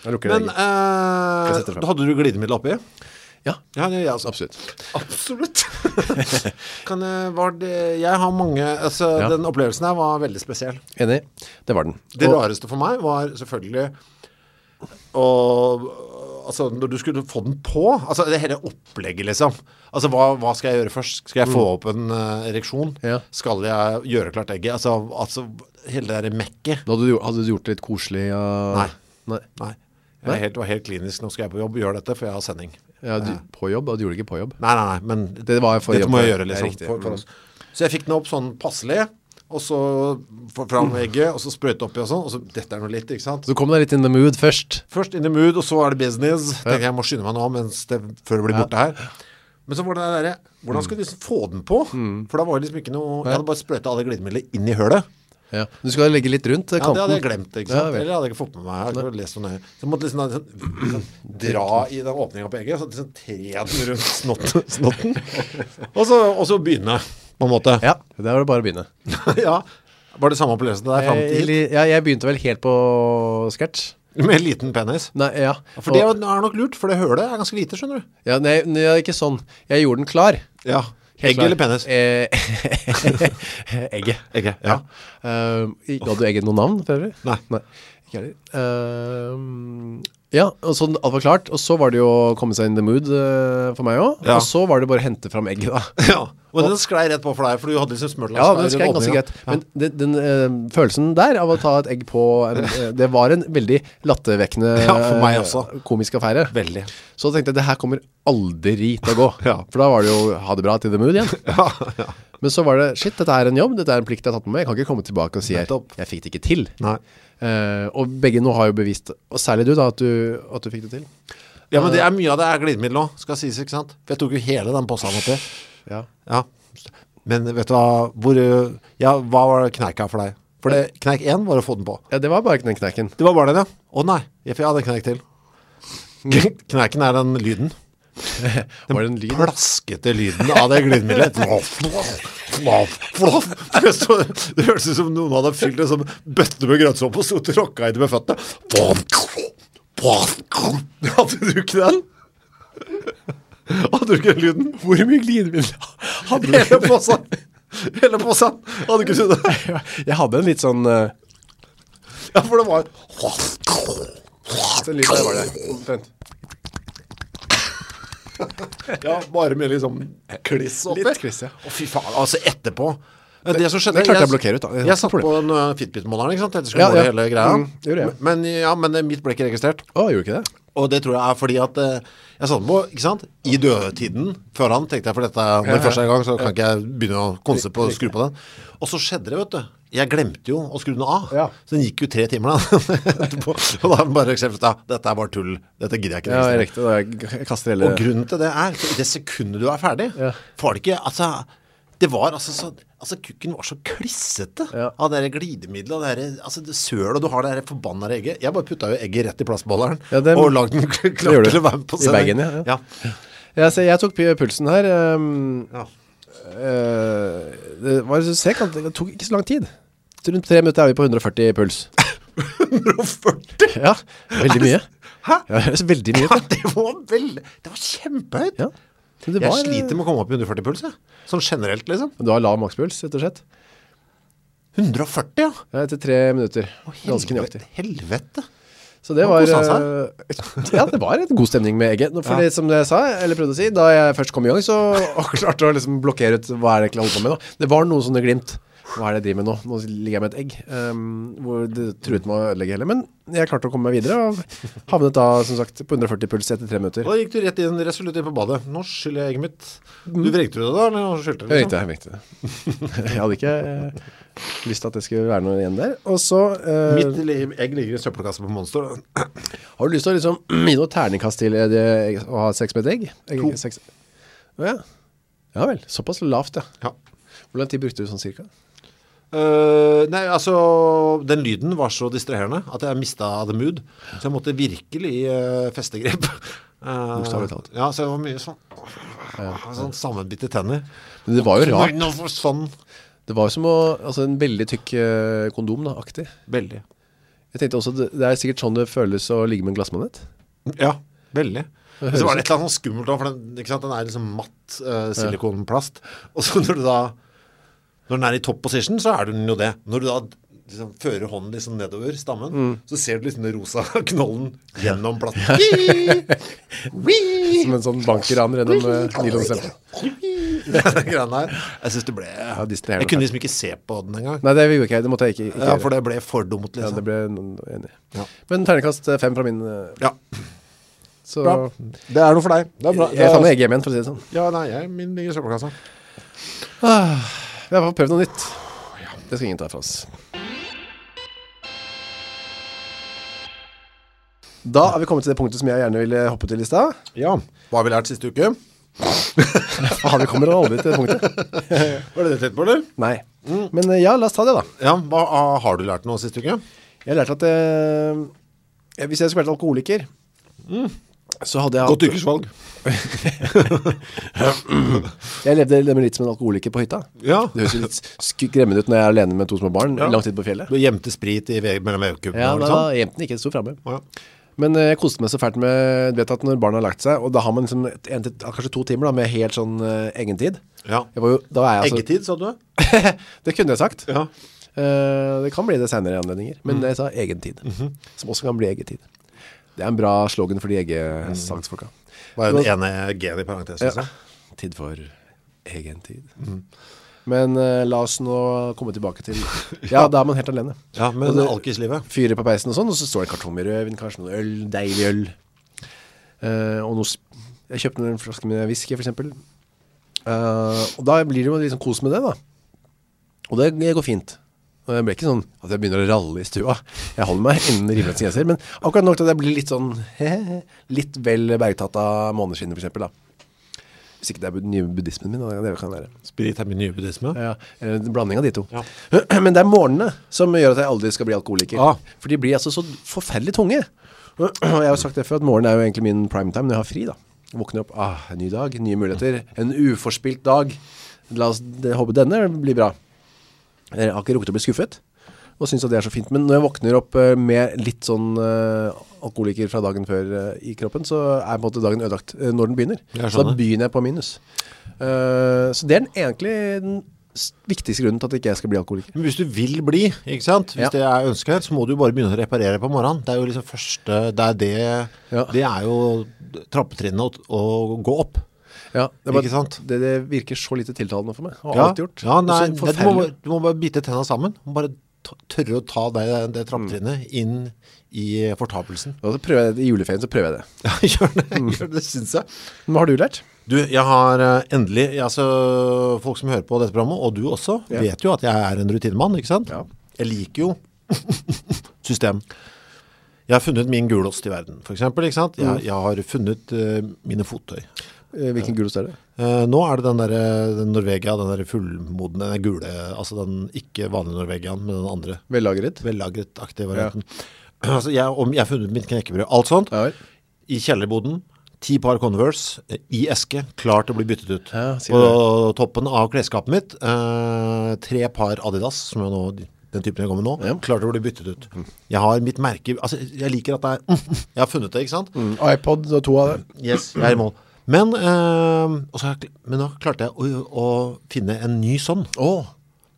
S1: Jeg lukker
S2: Men
S1: det
S2: eh,
S1: Jeg setter frem.
S2: hadde du glidemiddel oppi?
S1: Ja,
S2: Ja, det gjør jeg også
S1: absolutt
S2: Absolutt kan, jeg- var det, Jeg har mange altså,
S1: Ja.
S2: Den opplevelsen her var veldig spesiell
S1: Enig, det var den
S2: Det
S1: Og-
S2: rareste for meg var selvfølgelig og, altså, Når du skulle få den på Altså det hele opplegget liksom Altså hva, hva skal jeg gjøre først? Skal jeg få opp en eh, ereksjon?
S1: Mm. Ja.
S2: Skal jeg gjøre klart egget? Altså, altså hele det der mekket
S1: Da hadde du, gjort- hadde du gjort det litt koselig og...
S2: Nei.
S1: Nei
S2: Nei, jeg er helt, det var helt klinisk Nå skal jeg på jobb, gjør dette for jeg har sending
S1: ja, du, På jobb, da du gjorde det ikke på jobb
S2: Nei, nei, nei, men
S1: Det var for
S2: dette
S1: jobb,
S2: må jeg
S1: ja. Det
S2: gjøre
S1: er
S2: liksom
S1: riktig. Mm.
S2: for, for oss. Så jeg fikk den opp sånn passelig Og så f- fram egget Og så sprøyte oppi og sånn Og så dette er noe litt, ikke sant?
S1: Så kom deg litt in the mood først
S2: Først in the mood, og så er det business. Tenker jeg må skynde meg nå mens det, før det blir borte her. Men så var det der, hvordan skulle du liksom få den på? For da var det liksom ikke noe, jeg hadde bare sprøytet alle glidemidler inn i hølet.
S1: ja. Du skal legge litt rundt eh,
S2: Ja, det
S1: kanten
S2: hadde jeg glemt, ikke sant?
S1: Ja, vel.
S2: Eller hadde jeg ikke fått med meg, jeg hadde ikke lest så nøye. Så jeg måtte liksom, da liksom dra i den åpningen på egget, så liksom tre den rundt snotten, snotten. Og, så, og så begynne, på en måte.
S1: Ja, der var det bare å begynne
S2: Eh, ja. Var det samme opplevelsen der frem til,
S1: jeg, ja, jeg begynte vel helt på sketch
S2: med liten penis?
S1: Nei, ja
S2: For det
S1: Og-
S2: er nok lurt, for det hølet er ganske lite, skjønner du?
S1: ja, nei, nei, ikke sånn Jeg gjorde den klar
S2: Ja. Egg
S1: Klar.
S2: eller penis?
S1: Eh, Egget
S2: Egget,
S1: Ja. Ehm, i- Ga du egget noen navn for øvrig?
S2: Nei.
S1: Ikke heller. Ehm, ja, og så alt var klart, og så var det jo å komme seg in the mood eh, for meg også,
S2: Ja.
S1: og så var det bare å hente fram egget da.
S2: Ja, og den sklei rett på for deg, for du hadde liksom smørt
S1: Ja, den skrek ganske greit, men den, den eh, følelsen der av å ta et egg på, en, eh, det var en veldig lattevekkende
S2: Ja, for meg også.
S1: eh, komisk affære.
S2: Veldig.
S1: Så tenkte jeg, det her kommer aldri til å gå,
S2: Ja.
S1: for da var det jo ha det bra til the mood igjen.
S2: Ja, ja.
S1: Men så var det, shit, dette er en jobb, dette er en plikt jeg har tatt på meg Jeg kan ikke komme tilbake og si jeg,
S2: Nettopp.
S1: jeg fikk det ikke til
S2: Nei.
S1: Eh, Og begge nå har jo bevist, og særlig du da, at du, at du fikk det til
S2: Ja, men det er mye av det er glidemiddel også, skal sies, ikke sant? For jeg tok jo hele den posten oppi.
S1: Ja,
S2: Ja. Men vet du hva, hvor, øh, ja, hva var kneika for deg? For det, kneik 1 var å få den på.
S1: ja det var bare den knekken
S2: Det var bare den, ja. Å nei, jeg fikk ja, det kneik til. Kneiken er den lyden.
S1: Var det en lyd?
S2: Plaskete lyden av det glidemiddelet. Flaff, flaff, flaff. Det så- det hørtes ut som noen hadde fylt en sånn bøtte med grønnsåpe og stod og rokka i det med føttene. Flaff, flaff. Hadde du ikke den? Hadde du ikke den lyden?
S1: Hvor mye glidemiddel hadde
S2: Hele posen. Hele posen. Hadde ikke du det?
S1: Jeg hadde en litt sånn eh,
S2: Ja, for det var
S1: Sånn lyd der var det Omtrent.
S2: Ja, bare med liksom kliss oppi.
S1: Litt kliss, ja.
S2: Å, fy faen, altså etterpå. Det, som skjedde,
S1: det klarte jeg å blokkere ut, da. Det er
S2: Jeg
S1: et
S2: satt
S1: problem.
S2: på en uh, Fitbit-måleren, ikke sant? Etter skulle
S1: Ja,
S2: måle
S1: ja.
S2: hele greia.
S1: Mm, gjorde jeg.
S2: Men, ja, men eh, mitt ble ikke registrert.
S1: Å, gjorde du ikke det?
S2: Og det tror jeg er fordi at eh, jeg satt den på, ikke sant? I dødtiden, før han, tenkte jeg, for dette er- når det første er i gang, så kan ikke jeg begynne å konse på å skru på den. Og så skjedde det, vet du. Jeg glemte jo å skru den av.
S1: Ja.
S2: Så den gikk jo tre timer da. etterpå. Og da bare eksempel, ja, dette er bare tull. Dette gidder jeg ikke
S1: Ja,
S2: registrere.
S1: riktig, da jeg jeg kaster hele
S2: Og grunnen til det er, for i det sekundet du er ferdig,
S1: Ja.
S2: var det ikke, altså, det var altså så, altså kukken var så klissete
S1: Ja.
S2: av det der glidemiddelet, og det der, altså det søl, og du har det der forbannet egget. Jeg bare putta jo egget rett i plastbolleren,
S1: Ja, det-
S2: og lagde den klar
S1: gjør du.
S2: til å være med på
S1: I
S2: sending.
S1: bagen, ja,
S2: ja.
S1: ja, så Jeg tok pu- pulsen her ehm,
S2: Ja.
S1: eh, Det var så sek at Det tok ikke så lang tid Rundt tre minutter er vi på 140 puls
S2: 140!
S1: Ja, veldig mye
S2: Hæ?
S1: Ja, det høres veldig mye ut
S2: Ja,
S1: da.
S2: det var vel, det var kjempehøyt.
S1: Ja. Men det
S2: Jeg
S1: var, eh,
S2: sliter med å komme opp i 140 puls, jeg. Sånn generelt, liksom.
S1: Men Du har lav makspuls, rett og slett.
S2: 140, ja.
S1: Ja, etter tre minutter. Ganske nøyaktig.
S2: Helvete, helvete.
S1: Så det
S2: Nå
S1: var
S2: kosa han
S1: eh, Ja, det var en god stemning med egget. Nå, For det som jeg sa, eller prøvde å si, da jeg først kom i gang, så og klarte å liksom blokkere ut hva er det jeg egentlig holder på med nå. Det var noen sånne glimt. Hva er det jeg driver med nå? Nå ligger jeg med et egg. ehm, hvor det truet med å ødelegge hele. Men jeg klarte å komme meg videre, og havnet da som sagt på 140 puls etter tre minutter.
S2: Og da gikk du rett inn, resolutt inn på badet. Nå skyller jeg egget mitt. Du vrengte det da, eller skyldte det?
S1: Jeg ringte, jeg ringte. Jeg hadde ikke eh, lyst til at det skulle være noe igjen der. Og så eh,
S2: Mitt li- egg ligger i søppelkassa på Monster.
S1: Har du lyst til å liksom gi noe terningkast til eh, det, å ha sex med et egg? egg
S2: To.
S1: Sex. Å Ja. ja vel, såpass lavt, ja.
S2: Ja.
S1: Hvor lang tid brukte du sånn cirka?
S2: Eh, nei, altså, den lyden var så distraherende at jeg mistet the mood. Så jeg måtte virkelig uh, feste grep. Eh,
S1: Bokstavelig talt.
S2: Ja, så det var mye sånn. Ah, Sånn sammenbitte tenner
S1: Men det var jo rart.
S2: Nå sånn, forsvann
S1: Det var jo som å, altså en veldig tykk eh, kondom da, aktig.
S2: Veldig
S1: Jeg tenkte også, det, det er sikkert sånn det føles å ligge med en glassmanet.
S2: Ja, veldig Men så
S1: høres
S2: var det et eller annet sånn skummelt også, For den, ikke sant, den er liksom matt eh, silikonplast Og så når du da Når den er i top position så er den jo det Når du da liksom fører hånden liksom nedover stammen Så ser du liksom den rosa knollen Gjennom plasten
S1: Som en sånn bankeran gjennom uh, nylonstrømpen.
S2: Den greien der Jeg synes det ble
S1: distraherende.
S2: Jeg kunne liksom ikke se på den en gang
S1: Nei, det gjorde ikke jeg, det måtte jeg ikke, ikke
S2: Ja,
S1: gjøre.
S2: for det ble for dumt
S1: Ja,
S2: liksom
S1: det ble noen enig.
S2: Ja.
S1: Men ternekast eh, fem fra min, eh,
S2: Ja,
S1: så
S2: bra. Det er noe for deg. Det er bra.
S1: jeg tar med EGM igjen, for å si det sånn.
S2: Ja, nei, jeg, min ligger i søppelkassa.
S1: Vi har i hvert fall prøvd noe nytt. Det skal ingen ta fra oss. Da er vi kommet til det punktet som jeg gjerne ville hoppe til i stad.
S2: Ja. Hva har vi lært siste uke?
S1: Faen, Ah, Vi kommer aldri til det punktet.
S2: Var det det du tenkte på, eller?
S1: Nei. Men eh, ja, la oss ta det, da.
S2: Ja, hva ah, har du lært noe siste uke?
S1: Jeg lærte at eh, eh, hvis jeg skulle vært alkoholiker, så hadde jeg hatt-
S2: yrkesvalg.
S1: Jeg levde nemlig litt som en alkoholiker på hytta.
S2: Ja.
S1: Det høres jo litt skremmende ut når jeg er alene med to små barn
S2: Ja.
S1: lang tid på fjellet.
S2: Du gjemte sprit i ve mellom øyekubbene
S1: Ja, da,
S2: og litt
S1: da
S2: sånn?
S1: jenten ikke sto fremme.
S2: Å, Ja.
S1: Men eh, jeg koste meg så fælt med, du vet at når barna har lagt seg, og da har man liksom et- en til, ah, kanskje to timer da, med helt sånn eh, egen tid.
S2: Ja.
S1: Jeg var jo, da er jeg altså...
S2: Eggetid, sa du?
S1: det kunne jeg sagt.
S2: Ja. Mhm.
S1: Eh, det kan bli det senere i anledninger, men jeg sa egen tid, som også kan bli egen tid. Det er en bra slogan for de
S2: Mhm.
S1: eggesangsfolka.
S2: Var
S1: Men-
S2: den ene gen i liksom.
S1: Ja.
S2: parentesen, så?
S1: Tid for egen tid.
S2: Mhm.
S1: Men eh, la oss nå komme tilbake til... Ja, da er man helt alene.
S2: Ja, men
S1: Og det-
S2: alkislivet.
S1: fyrer på peisen og sånn, og så står det kartong med rødvin, kanskje noe øl, deilig øl. Eh, og noe, sp- jeg kjøpte en flaske med whisky, for eksempel. Eh, og da blir det jo liksom kos med det, da. Og det, det går fint. Og jeg ble ikke sånn at jeg begynner å ralle i stua. Jeg holder meg innen rimelighetens grenser, men akkurat nok til at jeg blir litt sånn, litt vel bergtatt av måneskinnet, for eksempel, da. Hvis ikke det er bud- nye buddhismen min, da, det kan være.
S2: Sprit er min nye buddhisme.
S1: Ja, eller en blanding av de to. Men det er morgenene som gjør at jeg aldri skal bli alkoholiker.
S2: Ah.
S1: For de blir altså så forferdelig tunge. Og jeg har jo sagt det før at morgenen er jo egentlig min primetime når jeg har fri da. Jeg våkner opp, ah, en ny dag, nye muligheter, en uforspilt dag. La oss det, håpe denne blir bra. Jeg har ikke rukket å bli skuffet, og synes at det er så fint. Men når jeg våkner opp eh, med litt sånn eh, alkoholiker fra dagen før eh, i kroppen, så er på en måte dagen ødelagt eh, når den begynner. Så
S2: Jeg
S1: da
S2: skjønner.
S1: begynner jeg på minus. Eh, så det er den egentlig den s- viktigste grunnen til at ikke jeg skal bli alkoholiker.
S2: Men hvis du vil bli, ikke sant? Hvis
S1: Ja.
S2: det er ønsket her, så må du jo bare begynne å reparere på morgenen. Det er jo liksom første, det er det,
S1: Ja.
S2: det er jo trappetrinnet å, å gå opp.
S1: Ja, det, er bare,
S2: Ikke sant?
S1: Det, det virker så lite tiltalende for meg. Har
S2: Ja,
S1: alltid gjort.
S2: ja nei,
S1: Og så
S2: det, du, må,
S1: forferdelig.
S2: bare- du må bare bite tennene sammen. Du må Bare t- tørre å ta det, det
S1: Mm.
S2: trappetrinnet inn i fortapelsen.
S1: Og så prøver jeg det, I juleferien så prøver jeg det.
S2: Ja, gjør det,
S1: Mm.
S2: gjør det, synes jeg.
S1: Men hva har du lært?
S2: Du, jeg har eh, endelig, jeg, altså, folk som hører på dette programmet, og du også,
S1: Ja.
S2: vet jo at jeg er en rutinemann, ikke sant?
S1: Ja.
S2: Jeg liker jo system. Jeg har funnet min gulost i verden, for eksempel, ikke sant?
S1: Mm.
S2: Jeg, jeg har funnet eh, mine fottøy.
S1: Eh, Hvilken gulost er det?
S2: Eh, nå er det den der eh, den Norvegia, den der fullmodne, den gule, altså den ikke vanlige Norvegian, men den andre
S1: Vellagret?
S2: vellagret-aktige varianten. Altså, jeg, om, jeg har funnet mitt knekkebrød, alt sånt,
S1: Ja, vel.
S2: i kjellerboden, ti par Converse, eh, i eske, klar til å bli byttet ut.
S1: Ja, sier
S2: På toppen av klesskapet mitt, eh, tre par Adidas, som er nå, den typen jeg kommer med nå,
S1: Ja. Mm.
S2: klar til å bli byttet ut. Jeg har mitt merke, altså jeg liker at det er, jeg har funnet det, ikke sant?
S1: Mm, iPod og to av det.
S2: Yes, jeg er i mål. Men, eh, og så har jeg, men da klarte jeg å, å finne en ny sånn.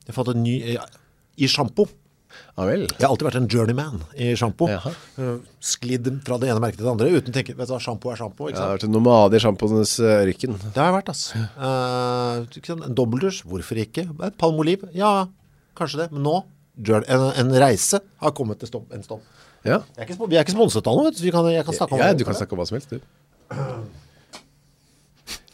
S2: Jeg fant en ny, eh, i shampoo.
S1: Ja vel.
S2: Jeg har alltid vært en journeyman i shampoo.
S1: Jaha.
S2: Eh, Sklidd fra det ene merket til det andre, uten å tenke, vet du hva, shampoo er shampoo, ikke
S1: Jeg
S2: sant?
S1: har vært en nomade i sjamponenes eh, ørken.
S2: Det har jeg vært, ass. Eh, ikke sant, en dobbeldusj, hvorfor ikke? Et palmoliv, ja, kanskje det. Men nå, jour- en, en reise har kommet til stopp, en stopp.
S1: Ja.
S2: Jeg er ikke, spo- vi er ikke sponset av noe, vet du. så Vi kan, jeg kan snakke om
S1: ja,
S2: det.
S1: du kan snakke om hva som helst, du.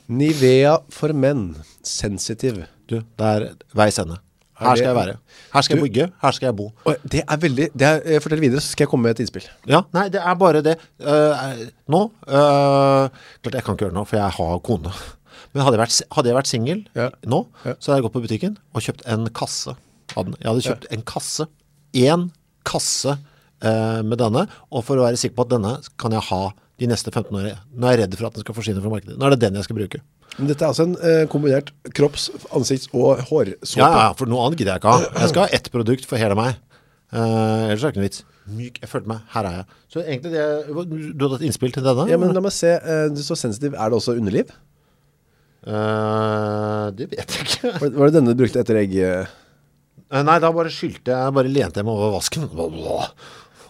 S1: Nivea for menn. Sensitiv.
S2: Du, det er veis ende. Her skal jeg være. Her skal jeg bygge, her skal jeg bo.
S1: Og det er veldig, det er, eh, fortell videre, så skal jeg komme med et innspill.
S2: Ja, nei, det er bare det. Eh, nå, eh, klart jeg kan ikke gjøre det nå, for jeg har kone. Men hadde jeg vært, hadde jeg vært single
S1: Ja.
S2: nå,
S1: Ja.
S2: så hadde jeg gått på butikken og kjøpt en kasse. av den. Jeg hadde kjøpt en kasse. En kasse eh, med denne, og for å være sikker på at denne kan jeg ha de neste 15 årene. Nå er jeg redd for at den skal forsvinne fra markedet. Nå er det den jeg skal bruke.
S1: Men dette er altså en eh, kombinert kropps-, ansikts- og hårsåpe.
S2: Ja, ja, for noe annet gidder jeg ikke ha. Jeg skal ha ett produkt for hele meg. Eh, ellers er det ikke noe vits. Myk, jeg følte meg, her er jeg. Så egentlig det, du hadde et innspill til denne?
S1: Ja, men la meg se, eh, du er så sensitiv, er det også underliv?
S2: Eh, det vet jeg ikke.
S1: Var, var det denne du brukte etter egg? eh?
S2: Eh, Nei, da bare skyldte jeg, bare lente jeg meg over vasken. Blablabla.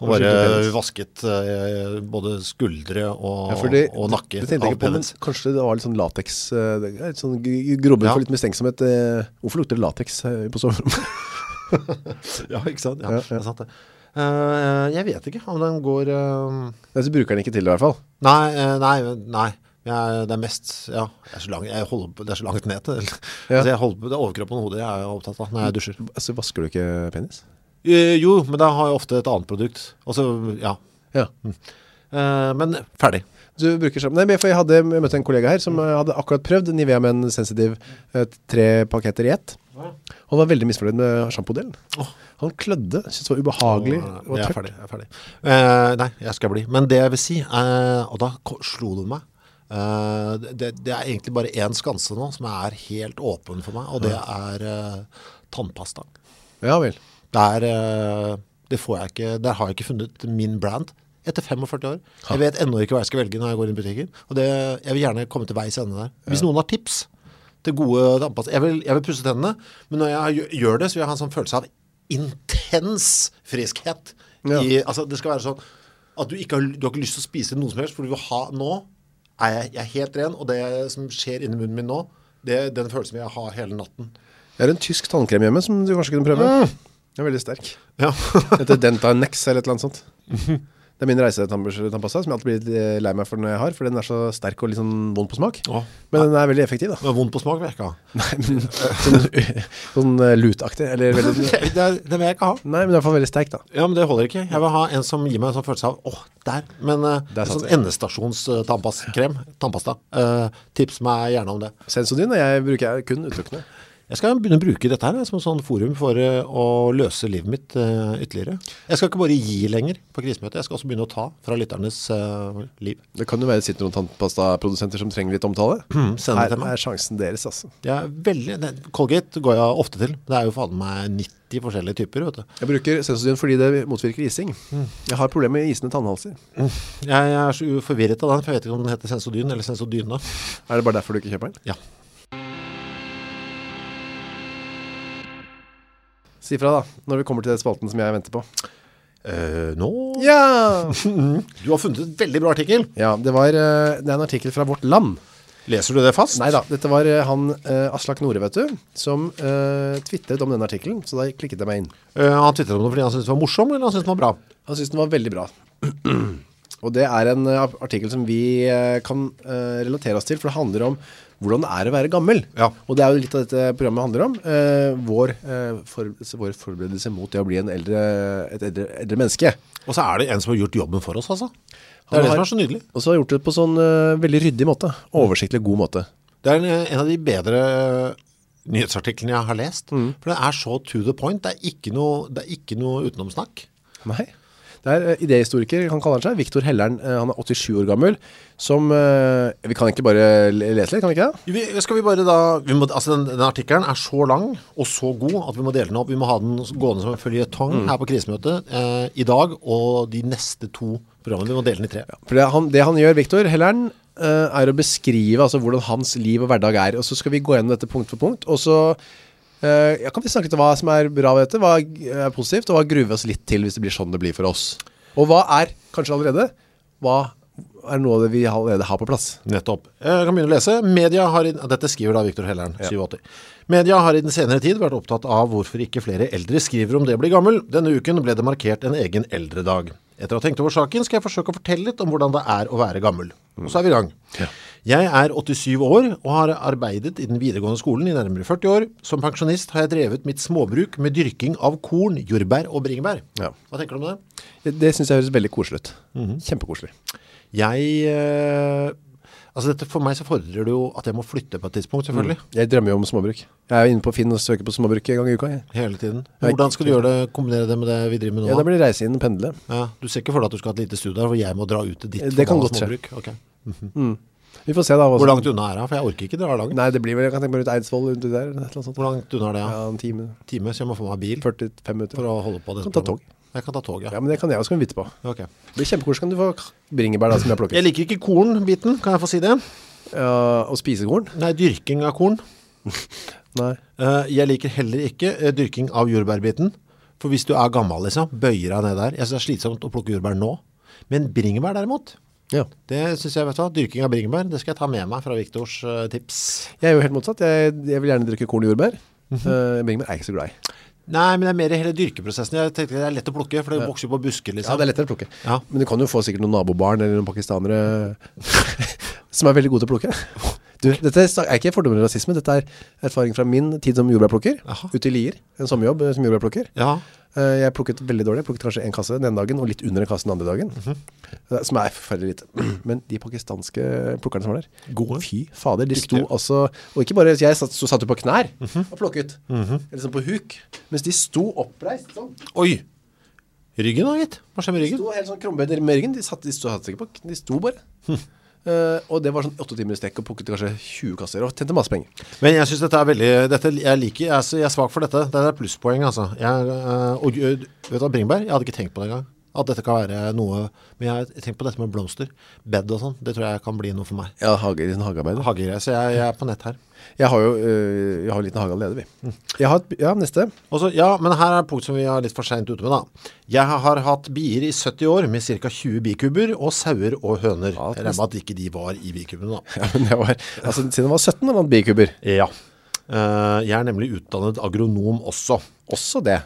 S2: Og
S1: Og skylte
S2: bare
S1: penis.
S2: vasket eh, både skuldre og,
S1: Ja, fordi-
S2: og nakke
S1: Det tenkte jeg
S2: av
S1: ikke på, men
S2: penis.
S1: kanskje det var litt sånn latex, eh, det er litt sånn g- grobben
S2: Ja.
S1: for litt mistenksomhet. eh, Hvorfor lukter det latex eh, på soverommet?
S2: Ja, ikke sant?
S1: Ja,
S2: Ja,
S1: ja.
S2: Det er sant det. Eh, jeg vet ikke om den går... eh,
S1: Nei, så bruker den ikke til det i hvert fall.
S2: nei, eh, nei, nei. Jeg, det er mest, ja, det er så langt, jeg holder, på- det er så langt ned til.
S1: Ja.
S2: Altså, jeg holder, på- det er overkroppen og hodet jeg er opptatt av når jeg dusjer.
S1: Altså, vasker du ikke penis?
S2: Eh, jo, men da har jeg ofte et annet produkt. Og så, ja.
S1: Ja.
S2: Eh, men ferdig.
S1: Du bruker sammen. Nei, men for jeg, hadde, jeg møtte en kollega her som eh, hadde akkurat prøvd Nivea Men Sensitive eh, tre paketter i ett. Han var veldig misfornøyd med sjampodelen.
S2: Åh.
S1: Han klødde, syntes det var ubehagelig.
S2: Åh,
S1: det var
S2: jeg er
S1: tørt.
S2: ferdig, jeg er ferdig. Eh, nei, jeg skal bli. Men det jeg vil si, eh, og da ko- slo det meg, eh, det, det er egentlig bare en skanse nå som er helt åpen for meg, og det er eh, tannpasta.
S1: Ja vel.
S2: Der, eh, det får jeg ikke, der har jeg ikke funnet min brand etter 45 år. Jeg vet enda ikke hva jeg skal velge når jeg går inn i butikken, og det, jeg vil gjerne komme til veis ende der. Hvis noen har tips til gode tannpasta, jeg vil, jeg vil pusse tennene, men når jeg gjø- gjør det, så vil jeg ha en sånn følelse av intens friskhet.
S1: Ja.
S2: I, altså, det skal være sånn at du ikke har, du har ikke lyst til å spise noe som helst, for du vil ha nå, er jeg, jeg er helt ren, og det som skjer inni munnen min nå, det er den følelsen jeg har hele natten.
S1: Jeg har en tysk tannkrem hjemme som du kanskje kunne prøve.
S2: Mm.
S1: Den er veldig sterk.
S2: Ja.
S1: Etter Dentanex eller et eller annet sånt. Det er min reisetannpasta som jeg alltid blir litt eh, lei meg for når jeg har, for den er så sterk og litt sånn vond på smak.
S2: Åh.
S1: Men den er veldig effektiv da.
S2: Det er vondt på smak, vil jeg ikke ha.
S1: Nei, men sånn, sånn eh, lutaktig, eller veldig...
S2: Det, er- det vil jeg ikke ha.
S1: Nei, men i hvert fall veldig sterk da.
S2: Ja, men det holder ikke. Jeg vil ha en som gir meg en sånn følelse av, åh, der. Men eh,
S1: Der
S2: en
S1: satt
S2: sånn
S1: det.
S2: endestasjons eh, tannpasskrem, tannpasta. Eh, tips meg gjerne om det.
S1: Sensodyne jeg bruker jeg kun utelukkende.
S2: Jeg skal begynne å bruke dette her eh, som en sånn forum for eh, å løse livet mitt eh, ytterligere. Jeg skal ikke bare gi lenger på krisemøtet, jeg skal også begynne å ta fra lytternes eh, liv.
S1: Det kan jo være det sitter noen tannpastaprodusenter som trenger litt omtale.
S2: send det
S1: Her
S2: til meg.
S1: er sjansen deres, altså.
S2: Det er veldig, det, Colgate går jeg ofte til. Det er jo faen meg 90 forskjellige typer, vet du.
S1: Jeg bruker sensodyne fordi det motvirker ising. Jeg har problemer med isende tannhalser.
S2: Jeg, jeg er så forvirret av den, for jeg vet ikke om den heter Sensodyn eller Sensodyne.
S1: Er det bare derfor du ikke kjøper den?
S2: Ja.
S1: Si fra da, når vi kommer til det spalten som jeg venter på.
S2: Eh, nå...
S1: Ja!
S2: Du har funnet en veldig bra artikkel.
S1: Ja, det, var, eh, det er en artikkel fra Vårt Land.
S2: Leser du det fast?
S1: Nei da, dette var eh, han eh, Aslak Nore, vet du, som uh, twittet om denne artikkelen, så da klikket jeg meg inn.
S2: Eh, han twitteret om det fordi han syntes det var morsom, eller han syntes det var bra?
S1: Han syntes den var veldig bra. Og det er en eh, artikkel som vi eh, kan eh, relatere oss til, for det handler om hvordan det er å være gammel.
S2: Ja.
S1: Og det er jo litt av dette programmet handler om. eh, vår, eh, forberedelse, vår forberedelse mot det å bli en eldre, et eldre, eldre menneske.
S2: Og så er det en som har gjort jobben for oss, altså. Det
S1: Han
S2: er det
S1: har-
S2: som er så nydelig.
S1: Og så har jeg gjort det på sånn eh, veldig ryddig måte. Oversiktlig god måte.
S2: Det er en, en av de bedre eh, nyhetsartiklene jeg har lest, for den er så to the point. Det er ikke noe, det er ikke noe utenomsnakk.
S1: Nei. Det er eh, idehistoriker, han kaller han seg, Viktor Helleren, eh, han er 87 år gammel, som, eh, vi kan egentlig bare le- lese litt, kan vi ikke det?
S2: Vi, skal vi bare da, vi må, altså den, den artikkelen er så lang og så god at vi må dele den opp. Vi må ha den gående som en følgetong her på krisemøtet eh, i dag og de neste to programmene. Vi må dele den i tre.
S1: For det han, det han gjør, Viktor Helleren, eh, er å beskrive altså, hvordan hans liv og hverdag er, og så skal vi gå gjennom dette punkt for punkt, og så eh, ja, kan vi snakke litt om hva som er bra ved dette, hva er positivt, og hva gruer vi oss litt til hvis det blir sånn det blir for oss. Og hva er, kanskje allerede, hva er noe av det vi allerede har på plass?
S2: Nettopp. Eh, Jeg kan begynne å lese. Media har i, dette skriver da Viktor Helleren, 87. Media har i den senere tid vært opptatt av hvorfor ikke flere eldre skriver om det å bli gammel. Denne uken ble det markert en egen eldredag. Etter å ha tenkt over saken skal jeg forsøke å fortelle litt om hvordan det er å være gammel. Og så er vi i gang. Jeg er 87 år og har arbeidet i den videregående skolen i nærmere 40 år. Som pensjonist har jeg drevet mitt småbruk med dyrking av korn, jordbær og bringebær.
S1: Ja.
S2: Hva tenker du om det?
S1: Det, det synes jeg høres veldig koselig ut. Kjempekoselig.
S2: Jeg eh, Altså dette, for meg så fordrer det jo at jeg må flytte på et tidspunkt selvfølgelig.
S1: Jeg drømmer jo om småbruk Jeg er jo inne på Finn og søker på småbruk en gang i uka jeg.
S2: Hele tiden.
S1: Ja, ikke-
S2: Hvordan skal du gjøre det, kombinere det med det vi driver med nå?
S1: Ja, da blir det reise inn og pendle
S2: Ja, du ser ikke for deg at du skal ha et lite studie her, hvor jeg må dra ut til ditt
S1: Eh, Det kan
S2: forbanna
S1: godt skje.
S2: småbruk? Ok.
S1: Vi får se da hva
S2: Hvor
S1: som-
S2: langt unna er det? For jeg orker ikke dra langt.
S1: Nei, det blir vel, jeg kan tenke meg ut Eidsvoll rundt der eller et eller annet sånt.
S2: Hvor langt unna er det? Ja?
S1: Ja, en time,
S2: Time, så jeg må få meg bil
S1: 45 minutter
S2: for å holde på det.
S1: Kan ta tog.
S2: Jeg kan ta tog, ja.
S1: Ja, men det kan jeg også komme vidt på
S2: Ok.
S1: Det blir kjempekors, kan du få bringebær da som jeg har plukket
S2: Jeg liker ikke kornbiten, kan jeg få si det?
S1: Ja, Og spisekorn?
S2: Nei, dyrking av korn.
S1: Nei
S2: Eh, jeg liker heller ikke eh, dyrking av jordbærbiten. For hvis du er gammel, liksom, bøyer deg ned der. Jeg synes det er slitsomt å plukke jordbær nå. Men bringebær derimot,
S1: Ja
S2: det synes jeg, vet du hva, dyrking av bringebær, det skal jeg ta med meg fra Viktors eh, tips.
S1: Jeg er jo helt motsatt Jeg, jeg vil gjerne drikke korn og jordbær Eh, Bringebær er jeg ikke så glad i
S2: Nei, men det er mer i hele dyrkeprosessen. Jeg tenkte det er lett å plukke, for det vokser jo på busker,
S1: Ja,
S2: liksom.
S1: det er lettere å plukke
S2: Ja.
S1: Men du kan jo få sikkert noen nabobarn Eller noen pakistanere Som er veldig gode til å plukke Du, dette er ikke fordommer og rasisme Dette er erfaring fra min tid som jordbærplukker
S2: Jaha.
S1: Ute i Lier, en sommerjobb eh, som jordbærplukker
S2: Ja.
S1: Eh, Jeg plukket veldig dårlig Jeg plukket kanskje en kasse den ene dagen Og litt under en kasse den andre dagen Eh, Som er forferdelig lite Men de pakistanske plukkerne som var der
S2: Gode.
S1: Fy fader, de sto altså Og ikke bare, jeg satt, så satt jo på knær Og plukket Eller sånn på huk Mens de sto oppreist sånn
S2: Oi! Ryggen da, gitt. Hva skjer med
S1: De
S2: ryggen?
S1: sto helt sånn krombøyder med ryggen De satt, de sto, satt ikke på kn- De sto bare Eh, Og det var sånn 8 timer i strekk Og plukket kanskje 20 kasser Og tjente masse penger
S2: Men jeg synes dette er veldig, dette, jeg liker, jeg er, så- jeg er svak for dette. Dette er plusspoeng, altså. Jeg, eh, og eh, vet du hva, bringebær, jeg hadde ikke tenkt på det engang. At dette kan være noe, men jeg har tenkt på dette med blomster, bed og sånn. Det tror jeg kan bli noe for meg.
S1: Ja, hage, liten hagearbeid
S2: Hagegreier, så jeg, jeg er på nett her.
S1: Jeg har jo eh, Jeg har en liten hage allerede vi Jeg har, et- ja, neste
S2: Og så- ja, men her er et punkt som vi er litt for sent ute med da. Jeg har hatt bier i 70 år med ca. 20 bikuber og sauer og høner.
S1: Ja,
S2: jeg regner med at ikke de var i bikubene da.
S1: Ja, men jeg var Altså, siden jeg var 17 eller annet bikuber
S2: Ja. Eh, jeg er nemlig utdannet agronom også.
S1: Også det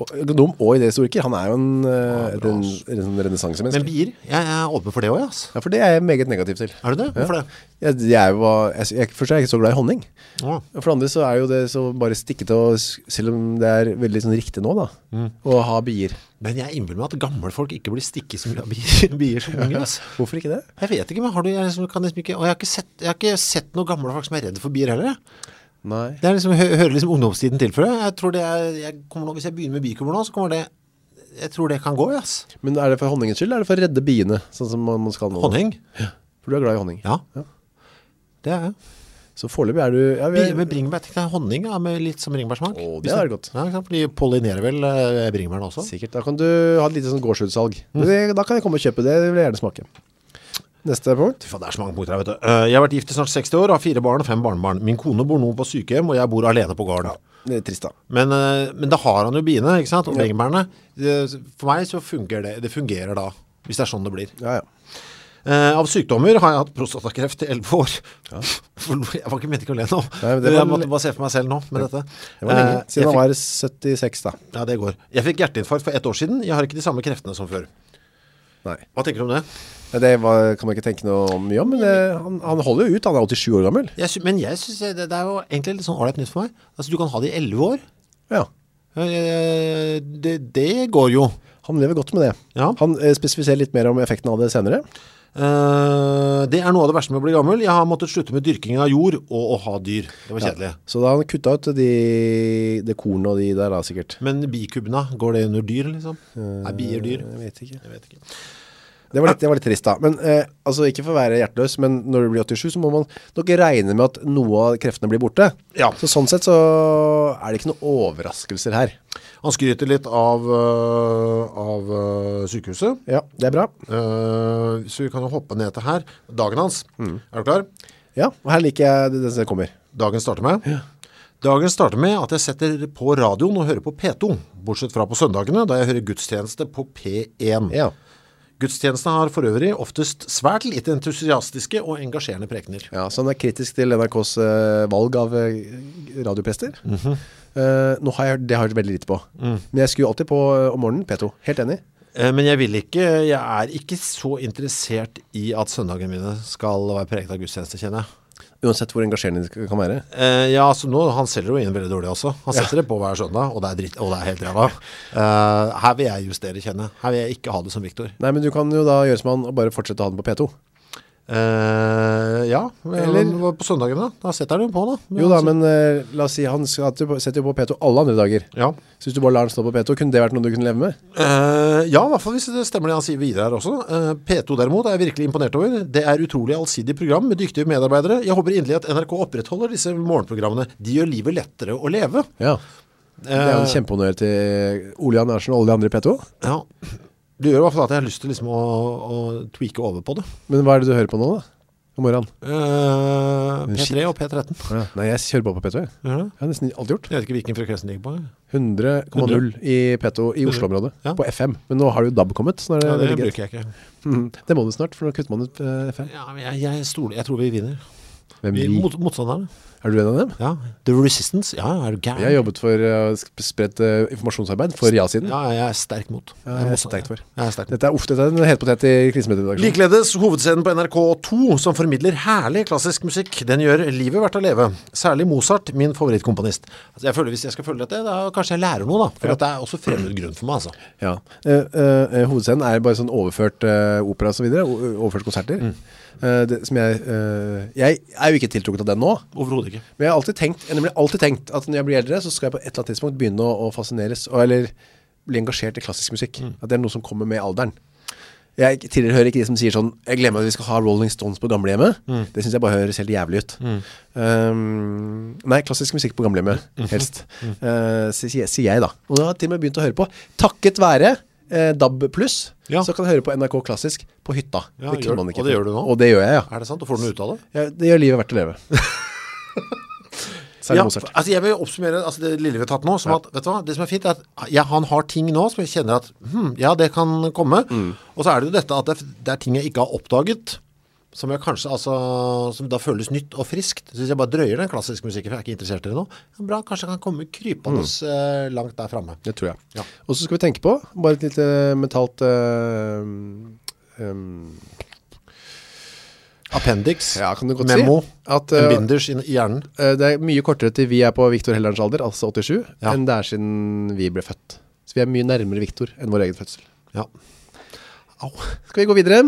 S1: og, Økonom og idehistoriker Han er jo en, eh,
S2: Mm. bra,
S1: en, en, sånn
S2: Men
S1: renessansemenneske.
S2: bier, jeg er åpen for det også, ass.
S1: Ja, for det er jeg meget negativ til
S2: Er du det? Hvorfor det?
S1: jeg, jeg var, jeg, jeg, Først er jeg ikke så glad i honning
S2: Ja.
S1: Og For det andre så er jo det så bare stikkete og, s- Selv om det er veldig sånn riktig nå da
S2: Mm.
S1: Å ha bier
S2: Men jeg innbiller meg at gamle folk ikke blir stikket som bier, bier som unge, ass.
S1: Hvorfor ikke det?
S2: Jeg vet ikke, men har du, jeg liksom, kan liksom ikke, og jeg har ikke, sett, jeg har ikke sett noen gamle folk som er redde for bier heller, jeg.
S1: Nei
S2: Det er liksom, hø hører liksom ungdomstiden til for det. Jeg tror det er, jeg kommer nå, hvis jeg begynner med bikuber nå, så kommer det, jeg tror det kan gå, ass.
S1: Men er det for honningens skyld Eller er det for å redde biene Sånn som man, man skal nå da?
S2: Honning?
S1: For du er glad i honning
S2: Ja.
S1: Ja.
S2: Det er jeg.
S1: Så foreløpig er du ja, vi
S2: Bier
S1: er,
S2: med bringebær, tenkte jeg, honning, ja, med litt som bringebærsmak.
S1: Å, det er godt.
S2: Ja, ikke sant, for de pollinerer vel eh, bringebærene også.
S1: Sikkert, da kan du ha et lite sånn gårdsutsalg det,
S2: Mm.
S1: Da kan jeg komme og kjøpe det, det vil jeg gjerne smake Neste punkt
S2: Fy faen, det er så mange punkter her, vet du. Eh, Jeg har vært gift i snart 60 år, har fire barn og fem barnebarn. Min kone bor nå på sykehjem, og jeg bor alene på gården.
S1: Det er trist da
S2: Men, eh, men da har han jo biene, ikke sant, og bringebærene. Det- For meg så fungerer det, det fungerer da, hvis det er sånn det blir.
S1: Ja, ja
S2: Eh, av sykdommer har jeg hatt prostatakreft i 11 år. Jeg var ikke ment ikke å le nå.
S1: Nei, men det var
S2: jeg måtte
S1: le-
S2: bare se for meg selv nå med dette.
S1: Det var lenge,
S2: Eh, jeg
S1: siden han
S2: fikk,
S1: var 76 da
S2: ja, det går. Jeg fikk hjerteinfarkt for ett år siden. Jeg har ikke de samme kreftene som før.
S1: Nei
S2: Hva tenker du om det?
S1: Det var, kan man ikke tenke noe mye om Men det, han, han holder jo ut, han er 87 år gammel
S2: Jeg sy men jeg synes jeg- det, det er jo egentlig litt sånn ålreit nytt for meg. Altså, du kan ha det i 11 år.
S1: Ja,
S2: Eh, det, det går jo.
S1: han lever godt med det
S2: Ja.
S1: Han eh, spesifiserer litt mer om effekten av det senere
S2: Eh, det er noe av det verste med å bli gammel. Jeg har måttet slutte med dyrkingen av jord og å ha dyr. Det var kjedelig.
S1: Så da han kutta ut de, det korn og de der da sikkert
S2: Men bikubene, går det under dyr liksom? Er bier dyr?
S1: Jeg vet ikke
S2: Jeg vet ikke.
S1: Det var litt, det var litt trist da Men eh, altså ikke for å være hjerteløs Men når du blir 87 så må man nok regne med at noe av kreftene blir borte
S2: Ja.
S1: Så sånn sett så er det ikke noen overraskelser her
S2: Han skryter litt av, øh, av øh, sykehuset,
S1: Ja, det er bra
S2: Eh, så vi kan jo hoppe ned til her. Dagen hans, er du klar?
S1: Ja, og her liker jeg det, det som kommer
S2: Dagen starter med. Dagen starter med at jeg setter på radioen og hører på P2, bortsett fra på søndagene, da jeg hører gudstjeneste på P1.
S1: Ja,
S2: Gudstjenestene har for øvrig oftest svært lite entusiastiske og engasjerende prekener.
S1: ja så han er kritisk til NRKs eh, valg av eh, radioprester Eh, Nå har jeg hørt, det har jeg hørt veldig lite på Men jeg skulle alltid på eh, om morgenen, P2 Helt enig
S2: Eh, Men jeg vil ikke, jeg er ikke så interessert i at søndagene mine skal være preget av gudstjeneste, kjenner jeg.
S1: Uansett hvor engasjerende det kan være
S2: Eh, ja, altså nå, han selger jo inn veldig dårlig også. Han setter det på hver søndag, og det er dritt, og det er helt ræva. Eh, her vil jeg justere, kjenne. Her vil jeg ikke ha det som Victor.
S1: Nei, men du kan jo da gjøre som han Og bare fortsette å ha den på P2
S2: Eh, ja,
S1: Eller-
S2: eller på søndagene da. Da setter den jo på da.
S1: Jo da, men eh, la oss si han skal- setter jo på P2 alle andre dager.
S2: Ja.
S1: Så hvis du bare lar han stå på P2, kunne det vært noe du kunne leve med?
S2: Eh, ja, i hvert fall hvis det stemmer det han sier videre her også. Eh, P2 derimot er jeg virkelig imponert over. Det er utrolig allsidig program med dyktige medarbeidere. Jeg håper inderlig at NRK opprettholder disse morgenprogrammene. De gjør livet lettere å leve.
S1: Ja. Det er
S2: Eh.
S1: jo en kjempehonnør til Ole Jan Arsen og alle de andre i P2.
S2: Ja. Det gjør i hvert fall at jeg har lyst til liksom å, å tweake over på det.
S1: Men hva er det du hører på nå da? Om morgenen?
S2: Eh,
S1: Men shit.
S2: P3 og P13.
S1: Nei, jeg kjører bare på P2. Jeg
S2: Gjør det?
S1: Jeg har nesten alltid gjort.
S2: Jeg vet ikke hvilken frekvens den ligger på. jeg.
S1: 100,0 i P2 i Oslo-området.
S2: Ja.
S1: På FM. Men nå har jo DAB kommet. Så nå er det,
S2: Ja, det
S1: veldig greit.
S2: bruker jeg ikke.
S1: Mhm. det må du snart, for nå kutter man ut eh, FM.
S2: Ja, men jeg, jeg, stoler, jeg tror vi vinner.
S1: Hvem
S2: Vi,
S1: vi?
S2: mot, motstanderne.
S1: Er du en av dem?
S2: Ja. The Resistance. Ja, er du gæren?
S1: Jeg har jobbet for eh, sp- spredt eh, informasjonsarbeid for ja-siden.
S2: Ja, jeg er sterk mot.
S1: Ja, jeg er sterkt for.
S2: Jeg er sterk mot.
S1: Dette er, uff, dette er en helpotet i krisemøteredaksjonen.
S2: Likeledes hovedscenen på NRK2 som formidler herlig klassisk musikk. Den gjør livet verdt å leve. Særlig Mozart, min favorittkomponist. Altså, jeg føler Hvis jeg skal følge dette, da kanskje jeg lærer noe, da. For dette er også fremmed grunn for meg, altså.
S1: Ja. Eh, eh, eh, hovedscenen er bare sånn overført eh, opera og så videre, o- overført konserter. Eh, det, som jeg, eh, jeg er jo ikke tiltrukket av den nå,
S2: Overhodet ikke.
S1: men jeg har alltid tenkt, jeg har nemlig alltid tenkt at når jeg blir eldre, så skal jeg på et eller annet tidspunkt begynne å, å fascineres, og, eller bli engasjert i klassisk musikk.
S2: Mm.
S1: At det er noe som kommer med alderen. Jeg tilhører ikke de som sier sånn, jeg glemmer at vi skal ha Rolling Stones på gamlehjemmet.
S2: Mm.
S1: Det synes jeg bare høres helt jævlig ut. Um, nei, klassisk musikk på gamlehjemmet,
S2: Mm.
S1: helst. Eh, si- sier sier jeg da. Og nå har jeg til og med begynt å høre på, takket være eh, DAB+,
S2: Ja.
S1: så kan jeg høre på NRK Klassisk på hytta.
S2: Ja,
S1: kunne
S2: gjør-
S1: man ikke
S2: og det
S1: før.
S2: gjør du nå?
S1: Og det gjør jeg, ja.
S2: Er det sant? Og får du noe ut av det?
S1: Ja, det gjør livet verdt å leve. Særlig
S2: Ja,
S1: Mozart.
S2: altså jeg vil oppsummere altså det lille vi har tatt nå som at, vet du hva, det som er fint er at jeg, han har ting nå som jeg kjenner at hm, ja, det kan komme,
S1: Mm.
S2: og så er det jo dette at det, er- det er ting jeg ikke har oppdaget som jeg kanskje, altså som da føles nytt og friskt, så hvis jeg bare drøyer den klassiske musikken, for jeg er ikke interessert i det nå ja, bra, kanskje jeg kan komme krypende
S1: Mm.
S2: eh, langt der fremme.
S1: Det tror jeg.
S2: Ja.
S1: Og så skal vi tenke på, bare et lite mentalt eh, um,
S2: Appendix,
S1: Ja, kan du godt
S2: memo,
S1: si. At
S2: en
S1: eh,
S2: binders i, i hjernen
S1: eh, det er mye kortere til vi er på Victor Hellerns alder, altså 87,
S2: Ja.
S1: enn det er siden vi ble født. Så vi er mye nærmere Victor enn vår egen fødsel.
S2: ja.
S1: Au. Skal vi gå videre?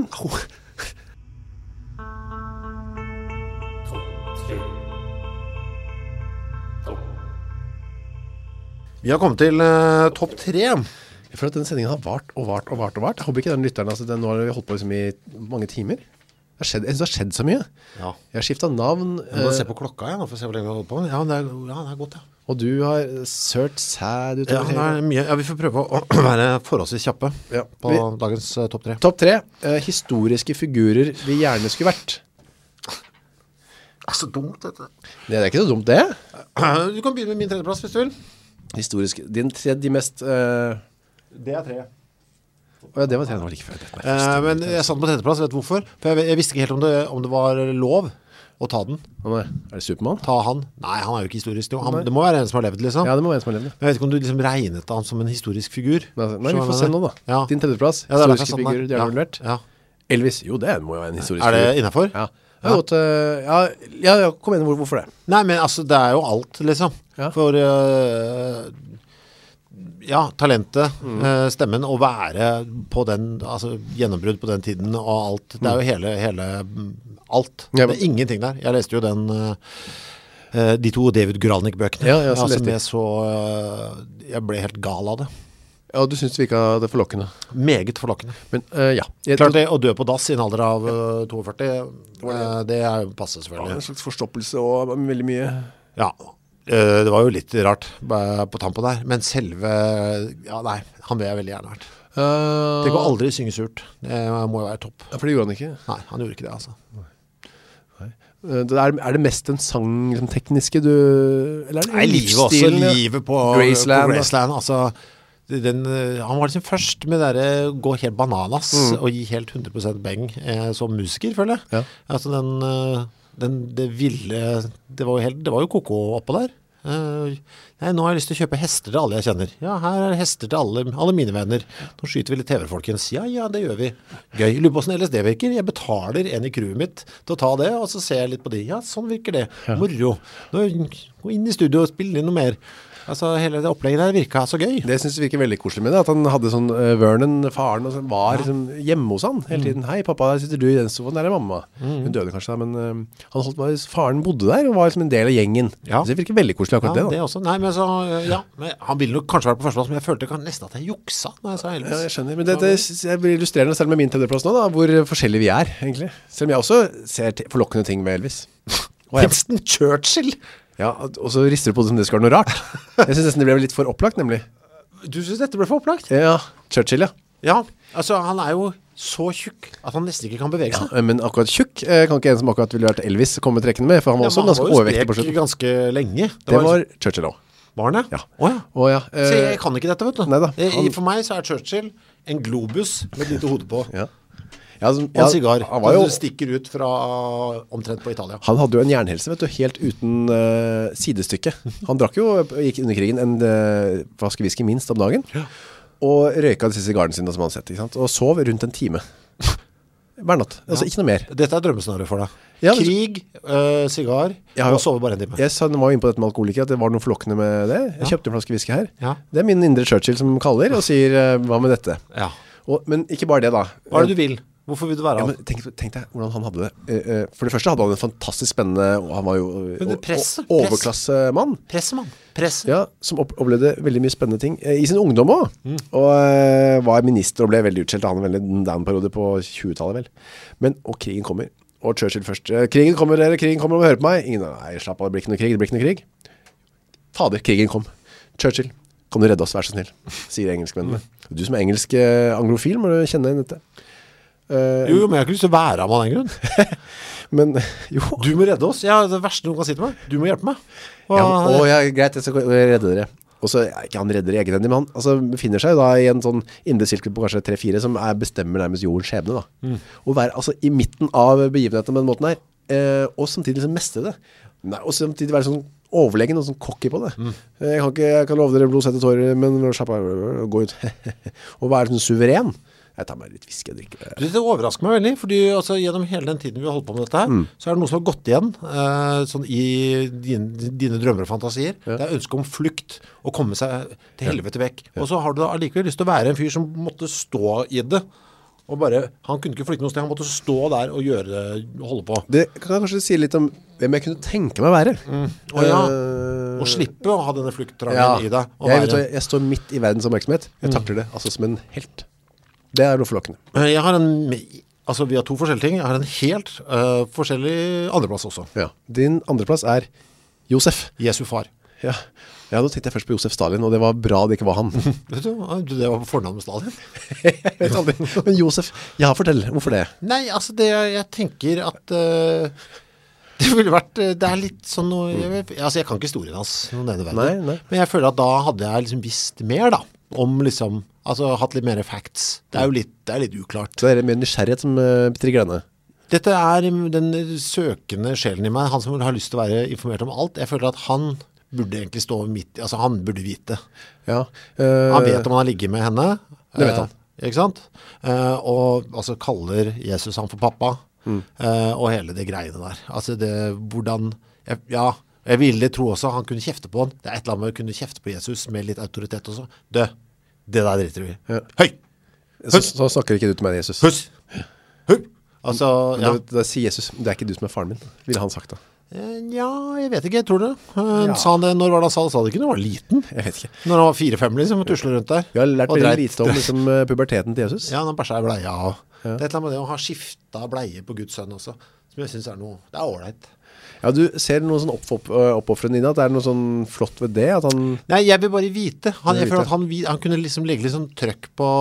S2: Vi har kommet til eh, topp tre
S1: Jeg føler at denne sendingen har vart og vart og vart og vart. Jeg håper ikke den lytteren, altså den, nå har vi holdt på liksom i mange timer. Det har skjedd, jeg synes det har skjedd så mye.
S2: Ja.
S1: Jeg har skiftet navn,
S2: Jeg må
S1: eh,
S2: se på klokka igjen, da, for å se hvor lenge vi har holdt på. Ja, det er, ja, det er godt, ja.
S1: og du har sørt sæd utover
S2: Ja, det er mye. ja, vi får prøve å være forholdsvis kjappe
S1: Ja.
S2: på
S1: Vi-
S2: dagens eh, topp tre.
S1: Topp tre, eh, historiske figurer vi gjerne skulle vært.
S2: Det er så dumt, dette.
S1: Det er ikke så dumt det.
S2: Eh, Du kan begynne med min tredjeplass, hvis du vil.
S1: Historiske, din tre, de mest... eh,
S2: Det er tre.
S1: Åja, det var tre, det var like før. dette var
S2: Eh,
S1: første.
S2: men jeg satt den på tredjeplass, vet du hvorfor? For jeg, jeg visste ikke helt om det, om det var lov å ta den.
S1: Å nei, er det Superman?
S2: Ta han. Nei, han er jo ikke historisk. jo. Han,
S1: Nei.
S2: det må være en som har levd, liksom.
S1: Ja, det må være en som har levd det.
S2: Jeg vet ikke om du liksom regnet han som en historisk figur.
S1: Nei, nei,
S2: Skjønner
S1: vi
S2: du
S1: får
S2: hva
S1: se
S2: jeg
S1: nå
S2: mener?
S1: da.
S2: Ja.
S1: Din tredjeplass,
S2: Ja, det er derfor jeg
S1: historiske
S2: satt den der.
S1: figurer de har
S2: Ja.
S1: vært.
S2: Ja.
S1: Elvis, jo det må jo være en historisk
S2: Er det
S1: figur.
S2: innenfor?
S1: Ja. Det er godt, eh, ja, ja, ja, kom igjen, hvor, hvorfor det?
S2: Nei, men altså, det er jo alt, liksom.
S1: Ja.
S2: For øh, ja, talentet,
S1: Mm.
S2: øh, stemmen, å være på den, altså gjennombrudd på den tiden og alt. Det er jo hele, hele mm, alt.
S1: Ja,
S2: det er ingenting der. Jeg leste jo den, øh, øh, de to David Gralnik-bøkene.
S1: Ja, ja, så
S2: altså,
S1: leste jeg.
S2: med så, øh, jeg ble helt gal av det.
S1: Ja, du synes vi ikke hadde forlokkende.
S2: Meget forlokkende.
S1: Men eh, ja. Jeg,
S2: Klart det, å dø på dass i en alder av øh, 42, øh, det er jo passe
S1: Det var
S2: selvfølgelig.
S1: en slags forstoppelse og veldig mye.
S2: Ja, eh, det var jo litt rart eh, på tampen der, men selve, ja nei, han vil jeg veldig gjerne vært.
S1: Uh,
S2: Tenk å aldri synge surt, det må jo være topp.
S1: For det gjorde han ikke.
S2: Nei, han gjorde ikke det altså.
S1: Eh, Det er, er det mest den sang liksom, tekniske du Eller er det
S2: Nei, livet også,
S1: livsstilen, ja?
S2: livet på
S1: Graceland, da.
S2: Graceland, Graceland altså, den, eh, han var liksom først med det der eh, gå helt bananas og gi helt 100% beng eh, som musiker, føler jeg.
S1: Ja.
S2: Altså den, eh, den, det ville, det var jo, helt, det var jo koko oppå der. Eh, nei, nå har jeg lyst til å kjøpe hester til alle jeg kjenner. Ja, her er hester til alle, alle mine venner. Nå skyter vi litt TV, folkens. Ja, ja, det gjør vi. Gøy. Lurer på hvordan LSD virker. Jeg betaler en i crewet mitt til å ta det, og så ser jeg litt på de. Ja, sånn virker det. Moro. Nå gå inn i studio og spille inn noe mer. Altså, hele det opplegget der virka så gøy.
S1: Det synes jeg virker veldig koselig med det, at han hadde sånn eh, Vernon, faren, og sånn, var liksom hjemme hos han
S2: Mm.
S1: hele tiden. Hei, pappa, sitter du i den sofaen? Der er mamma. Hun døde kanskje da, men eh, han holdt, bare- faren bodde der og var liksom en del av gjengen.
S2: Ja.
S1: Så det virker veldig koselig
S2: Ja,
S1: akkurat
S2: det
S1: det da.
S2: også. Nei, men så, øh, ja, men han ville nok kanskje vært på førsteplass, men jeg følte kan- nesten at jeg juksa når jeg sa
S1: Ja, jeg
S2: Elvis.
S1: skjønner, men det, det s- jeg blir illustrerende selv med min tredjeplass nå da, hvor forskjellige vi er egentlig. Selv om jeg også ser ti- forlokkende ting med Elvis. Og jeg,
S2: Winston Churchill!
S1: ja, og så rister du på det som det skal være noe rart. Jeg synes nesten det ble litt for opplagt nemlig.
S2: Du synes dette ble for opplagt?
S1: Ja, Churchill, ja.
S2: Ja, altså han er jo så tjukk at han nesten ikke kan bevege seg.
S1: Men akkurat tjukk eh, kan ikke en som akkurat ville vært Elvis komme trekkende med, for han var
S2: Ja,
S1: også
S2: men han
S1: ganske
S2: var jo
S1: overvektig på
S2: sprek
S1: slutten.
S2: Ganske lenge.
S1: Det var Churchill også.
S2: barnet.
S1: Ja.
S2: Åja.
S1: Å ja. eh,
S2: Så jeg kan ikke dette, vet du.
S1: Nei da,
S2: Eh, i-
S1: han-
S2: For meg så er Churchill en globus med et lite hode på.
S1: ja. Ja, som-
S2: Og en sigar. Altså,
S1: Han, var jo,
S2: som stikker ut fra eh, omtrent på Italia.
S1: han hadde jo en jernhelse, vet du, helt uten eh, sidestykke. Han drakk jo, gikk under krigen, en eh, flaske whisky minst om dagen, og røyka disse sigarene sine som han sett, ikke sant? Og sov rundt en time. Hver natt. Altså, ikke noe mer.
S2: Dette er drømmescenariet for deg.
S1: Ja, men-
S2: Krig, øh, sigar,
S1: Jeg har jo-
S2: og sove bare en time.
S1: Jeg sa, den var jo inne på dette med alkoholiker, at det var noe forlokkende med det. Jeg kjøpte en flaske whisky her.
S2: Ja.
S1: Det er min indre Churchill som kaller og sier, eh, hva med dette?
S2: Ja.
S1: Og, men ikke bare det da.
S2: Hva er det du vil? Hvorfor vil du være
S1: Ja,
S2: han?
S1: men tenk, tenk deg hvordan han hadde det. Eh, eh, For det første hadde han en fantastisk spennende, og han var jo
S2: Men
S1: eh,
S2: det presset,
S1: o- o-
S2: press.
S1: overklassemann,
S2: Pressemann. Presse.
S1: ja, som opp- opplevde veldig mye spennende ting eh, i sin ungdom også, og eh, var minister og ble veldig utskjelt av han veldig den periode på 20-tallet vel. Men, og krigen kommer, og Churchill først, eh, krigen kommer, dere, krigen kommer, må høre på meg. Ingen, nei, slapp av, det blir ikke noe krig, det blir ikke noe krig. Fader, krigen kom. Churchill, kan du redde oss, vær så snill, sier engelskmennene. Du som er engelsk eh, anglofil, må du kjenne igjen dette. Eh,
S2: Jo, jo, men jeg har ikke lyst til å være ham av den grunn.
S1: men, jo,
S2: Du må redde oss. Ja, det verste noen kan si til meg. Du må hjelpe meg. Og,
S1: Ja, men, å, ja, greit, jeg skal gå- jeg redder dere. Og så, ja, ikke han redder dere egenhendig, men han altså, befinner seg jo da i en sånn indre sirkel på kanskje 3-4, som er, bestemmer nærmest jordens skjebne da.
S2: Mm.
S1: Å være altså, i midten av begivenheten på den måten her, eh, og samtidig liksom mestre det. Nei, og samtidig være sånn overlegen og sånn cocky på det.
S2: Mm.
S1: Eh, Jeg, kan ikke, jeg kan love dere blod, sett og tårer, men slapp av, gå ut. og være sånn suveren. Jeg tar meg litt viske og drikker det.
S2: Du, Det overrasker meg veldig, fordi altså, gjennom hele den tiden vi har holdt på med dette
S1: Mm.
S2: her, så er det noe som har gått igjen eh, sånn i dine, dine drømmer og fantasier. Det er ønsket om flukt, å komme seg til helvete vekk. Og så har du da allikevel lyst til å være en fyr som måtte stå i det, og bare, han kunne ikke flykte noe sted, han måtte stå der og gjøre det, holde på.
S1: Det kan kanskje si litt om hvem jeg kunne tenke meg å være.
S2: Mm. Å ja.
S1: Eh,
S2: Og slippe å ha denne flukttrangen i deg. og
S1: jeg,
S2: være- Mm.
S1: vet, hva, jeg står midt i verdens oppmerksomhet Jeg takler det altså som en helt Det er noe forlokkende
S2: Eh, Jeg har en, altså vi har to forskjellige ting, jeg har en helt eh, forskjellig andreplass også.
S1: ja. Din andreplass er Josef
S2: Jesu far.
S1: ja. ja, nå tenkte jeg først på Josef Stalin Og det var bra det ikke var han Jeg
S2: Vet du, hva? det var på fornavn med Stalin.
S1: vet aldri Men Josef, ja fortell, hvorfor det?
S2: Nei, altså det jeg tenker at eh, det ville vært eh, Det er litt sånn noe jeg, vet- Altså jeg kan ikke historien hans noe nevneverdig.
S1: Nei, nei.
S2: Men jeg føler at da hadde jeg liksom visst mer, da. Om liksom Altså hatt litt mer facts. Det er jo litt, det er litt uklart.
S1: Så det er mer nysgjerrighet som uh, trigger denne
S2: Dette er mm, den søkende sjelen i meg, han som har lyst til å være informert om alt. Jeg føler at han burde egentlig stå midt i Altså han burde vite.
S1: ja. eh,
S2: Han vet om han har ligget med henne.
S1: Det vet han.
S2: Eh, Ikke sant? Eh, og altså, kaller Jesus han for pappa,
S1: Mm.
S2: eh, og hele det greiene der. Altså, det, hvordan, jeg, ja, jeg ville tro også han kunne kjefte på han. Det er et eller annet med å kunne kjefte på Jesus med litt autoritet også. Dø, det der driter vi. i.
S1: Ja.
S2: Høy,
S1: så, så snakker ikke du til meg, Jesus
S2: hus, høy. Altså,
S1: Men
S2: ja.
S1: da, da sier Jesus, det er ikke du som er faren min Ville han sagt da
S2: Eh, ja, jeg vet ikke, jeg tror det. Eh, Sa han det, når var det han sa det? Sa det ikke når han var liten?
S1: Jeg vet ikke
S2: Når han var fire-fem liksom, og tuslet rundt der.
S1: Vi har lært
S2: Og
S1: veldig
S2: dreit.
S1: lite om liksom, eh, puberteten til Jesus
S2: Ja, han har bæsja i bleia. og- Det er et eller annet med det å ha skifta bleie på Guds sønn også, som jeg syns er noe Det er ålreit.
S1: Ja, du ser noe sånn oppfopp- øh, oppofrende dine, at det er noe sånn flott ved det, at han...
S2: Nei, jeg vil bare vite. Han, jeg
S1: Du vil
S2: føler
S1: vite.
S2: at han, vi- han kunne liksom legge litt sånn trøkk på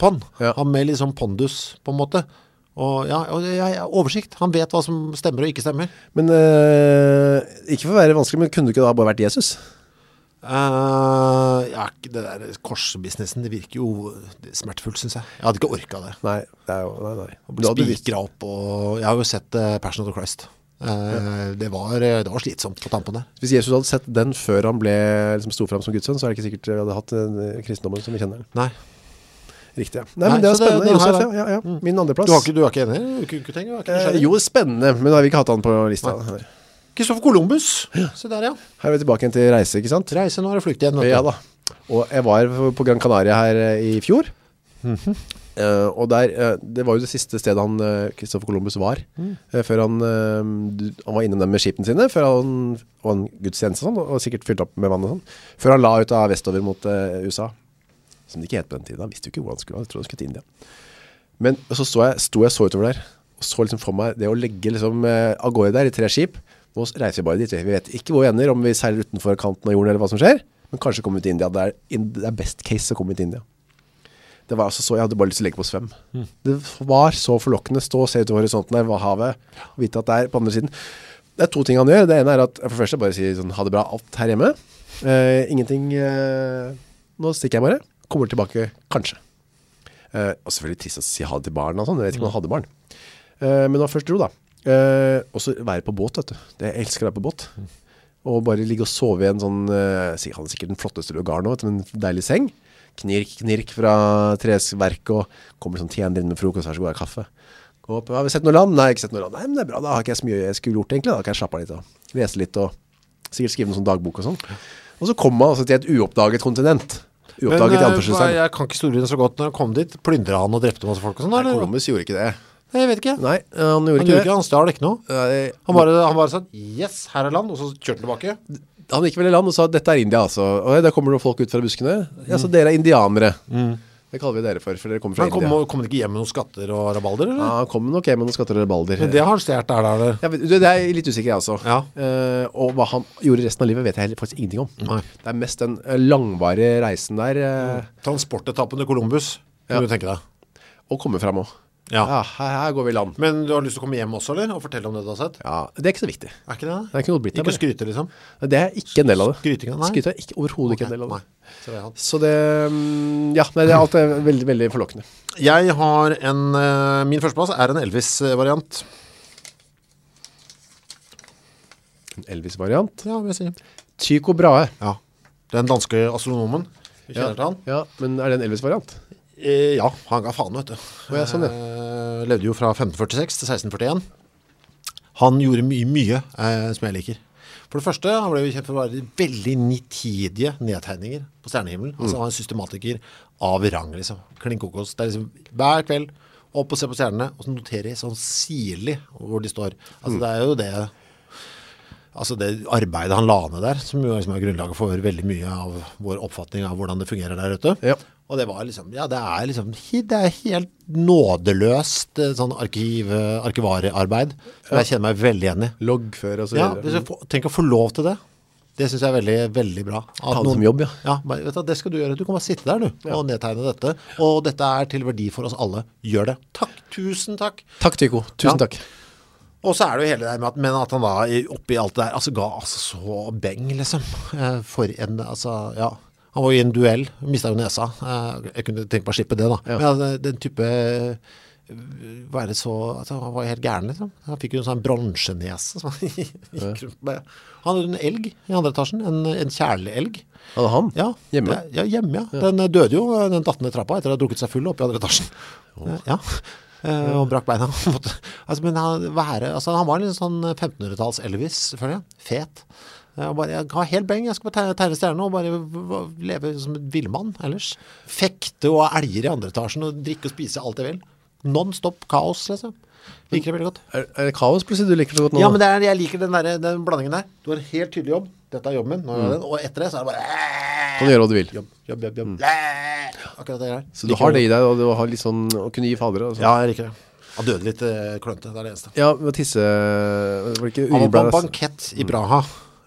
S2: på'n.
S1: Ja.
S2: Han med litt sånn pondus, på en måte. Og ja, og jeg- jeg- oversikt. Han vet hva som stemmer og ikke stemmer.
S1: Men øh, ikke for å være vanskelig, men kunne du ikke da bare vært Jesus?
S2: Eh, ja, det der korsbusinessen, det virker jo smertefullt, syns jeg. Jeg hadde ikke orka det.
S1: Nei, det er jo... Nei, nei. Du hadde visst-
S2: Spikra opp og Jeg har jo sett eh, Passion of the Christ. Eh, det, var, det var slitsomt på tampen der.
S1: hvis Jesus hadde sett den før han ble liksom, stod frem som Guds sønn, så er det ikke sikkert vi hadde hatt øh, kristendommen som vi kjenner den.
S2: Nei.
S1: Riktig, ja. Nei, men
S2: Nei,
S1: det er
S2: så det-
S1: spennende,
S2: den her
S1: Josef,
S2: er- Mm.
S1: ja, ja, ja. Min andre plass.
S2: Eh, Du har ikke, du har ikke enig? Du har ikke, du har ikke, du har ikke
S1: Eh, jo, spennende, men da har vi ikke hatt han på lista. Nei.
S2: Kristoffer Columbus. Se der, ja.
S1: Her er vi tilbake igjen til reise, ikke sant?
S2: Reise nå er det flukt igjen, vet du.
S1: Ja da Og jeg var på Gran Canaria her eh, i fjor Eh, Og der, eh, det var jo det siste stedet han eh, Kristoffer Columbus var eh, Før han, eh, du- han var innom dem med skipene sine Før han var en gudstjeneste og sånn Og sikkert fylt opp med vann og sånn Før han la ut av vestover mot eh, USA Som det ikke het på den tiden Han visste jo ikke hvor han skulle, han trodde han skulle til India men så sto jeg, sto jeg så utover der Og så liksom for meg det å legge liksom eh, av gårde der i tre skip Nå reiser vi bare dit, vi Vi vet ikke hvor vi ender Om vi seiler utenfor kanten av jorden eller hva som skjer Men kanskje komme ut til India Det er, in- det er best case å komme ut til India Det var altså så, jeg hadde bare lyst til å legge på svøm Det var så forlokkende Stå og se utover horisonten der, hva havet Og vite at det er på andre siden Det er to ting han gjør Det ene er at for det første bare sier sånn Ha det bra alt her hjemme Eh, Ingenting eh, Nå stikker jeg bare Kommer tilbake, kanskje Eh, og selvfølgelig trist å si ha det til barn og sånn. Jeg vet ikke om han hadde barn. Eh, men da først dro da. eh, og så være på båt, vet du. Det, jeg elsker å være på båt. Og bare ligge og sove i en sånn, eh, sikkert- han er sikkert den flotteste lugar nå, vet du, med en deilig seng. Knirk, knirk fra tresverk og kommer sånn tjener inn med frokost, vær så god, jeg har kaffe. Gå opp, har vi sett noe land? Nei, ikke sett noe land. Nei, men det er bra, da har ikke jeg så mye jeg skulle gjort egentlig, da kan jeg slappe av litt og lese litt og sikkert skrive noen sånn dagbok og sånn. Og så kommer man altså til et uoppdaget kontinent. Uoppdaget i
S2: eh,
S1: anførselstegn.
S2: jeg kan ikke historien så godt når han kom dit. Plyndra han og drepte masse folk og sånn?
S1: Nei,
S2: eller?
S1: Columbus gjorde ikke det.
S2: Nei, jeg vet ikke.
S1: Nei, eh, han gjorde ikke
S2: han gjorde
S1: det.
S2: ikke, han stjal ikke noe.
S1: Nei,
S2: Han bare, han bare sa, yes, her er land, og så kjørte han tilbake.
S1: han gikk vel i land og sa Dette er India altså Og der kommer det folk ut fra buskene Ja, så dere er indianere Det kaller vi dere for For dere kommer fra
S2: Mm. Han kom,
S1: India
S2: kom han ikke hjem med noen skatter og rabalder,
S1: Ja,
S2: eller?
S1: han kom nok hjem med noen skatter og balder
S2: Men det har han stjert der, der, der.
S1: jeg vet, det er jeg litt usikker jeg altså
S2: Ja.
S1: Eh, Og hva han gjorde resten av livet Vet jeg heller faktisk ingenting om
S2: Nei. Mm.
S1: Det er mest den eh, langvarige reisen der eh,
S2: Transportetappen til Columbus,
S1: Ja.
S2: kan du tenke deg.
S1: Og komme frem også
S2: Ja.
S1: her, her går vi i land
S2: Men du har lyst til å komme hjem også, eller? Og fortelle om det du har sett?
S1: Ja, det er ikke så viktig Det
S2: Er ikke det?
S1: er ikke noe blitt der
S2: Ikke
S1: bare.
S2: skryte, liksom?
S1: Det er ikke en del av det
S2: Skrytinga, nei.
S1: Skryt er ikke, overhodet ikke en del av det
S2: Nei. Så det er han.
S1: Så det, mm, ja, nei, det er alt er veldig, veldig forlokkende
S2: Jeg har en, eh, min førsteplass er en Elvis-variant.
S1: En Elvis-variant
S2: Ja, vil jeg si.
S1: Tycho Brahe
S2: Ja. Den danske astronomen. Vi kjenner til han.
S1: Ja, men er det en Elvis-variant?
S2: Eh, ja, han ga faen, vet du.
S1: ja, sånn, ja.
S2: Eh, levde jo fra 1546 til 1641. Han gjorde mye, mye eh, som jeg liker. For det første, han ble jo kjent for å være veldig nitidige nedtegninger på stjernehimmelen. Altså, han var en systematiker av rang, liksom. Klinkokos. Det er liksom hver kveld opp og se på stjernene, og så notere sånn sirlig hvor de står. Altså, det er jo det... Altså det arbeidet han la ned der, som jo liksom er grunnlaget for veldig mye av vår oppfatning av hvordan det fungerer der ute.
S1: Ja.
S2: Og det var liksom, ja det er liksom, he- det er helt nådeløst eh, sånn arkiv, eh, arkivarearbeid, som jeg kjenner meg veldig igjen i.
S1: Loggfør og så
S2: Ja,
S1: videre
S2: hvis jeg får, tenk å få lov til det. Det synes jeg er veldig, veldig bra. At
S1: Ta det som jobb, ja.
S2: Ja, bare, vet du, det skal du gjøre. Du kan bare sitte der, du, og nedtegne dette. Og dette er til verdi for oss alle. Gjør det. Takk, tusen takk.
S1: Takk Tycho,
S2: Ja.
S1: tusen takk
S2: Og så er det jo hele det der med at, men at han da i- oppi alt det der, altså ga altså så beng, liksom, eh, for en, altså, ja. Han var jo i en duell, mistet jo nesa. Eh, Jeg kunne tenke meg å slippe det da. Men altså, den type, eh, være så, altså, han var jo helt gæren, liksom. Han fikk jo en sånn bronsenese som han gikk rundt med. Han hadde en elg i andre etasjen, en, en kjærlig elg.
S1: Hadde han?
S2: Ja,
S1: Hjemme?
S2: det- Ja, hjemme, ja. Den eh, døde jo, eh, den dattende trappa, etter å ha drukket seg full opp i andre etasjen. Eh, Ja, Eh, og brakk beina. på en måte. altså, men han, være, altså, han var en litt sånn 1500-talls Elvis, selvfølgelig. Fet. Eh, og Bare, jeg har helt beng, jeg skal bare tegne, tegne stjerne og bare v- v- leve som en villmann ellers. Fekte og ha elger i andre etasjen og drikke og spise alt jeg vil. Non-stop kaos, liksom. Liker det veldig godt.
S1: Er, er det kaos plutselig du liker så godt nå?
S2: Ja, men det er, jeg liker den, der, den blandingen der. Du har en helt tydelig jobb. Dette er jobben min, nå
S1: Mm.
S2: gjør jeg den. Og etter det så er det bare...
S1: Kan du gjøre hva du vil
S2: Jobb, jobb, jobb, jobb. Læ! Mm. Akkurat det der.
S1: Så du har det i deg, og du har litt sånn Å kunne gi fader og sånn
S2: Ja, jeg liker det. Han døde litt eh, klønte, det er det eneste.
S1: Ja, med tisse Var det ikke
S2: Han var på
S1: urinblære
S2: en bankett i Braha,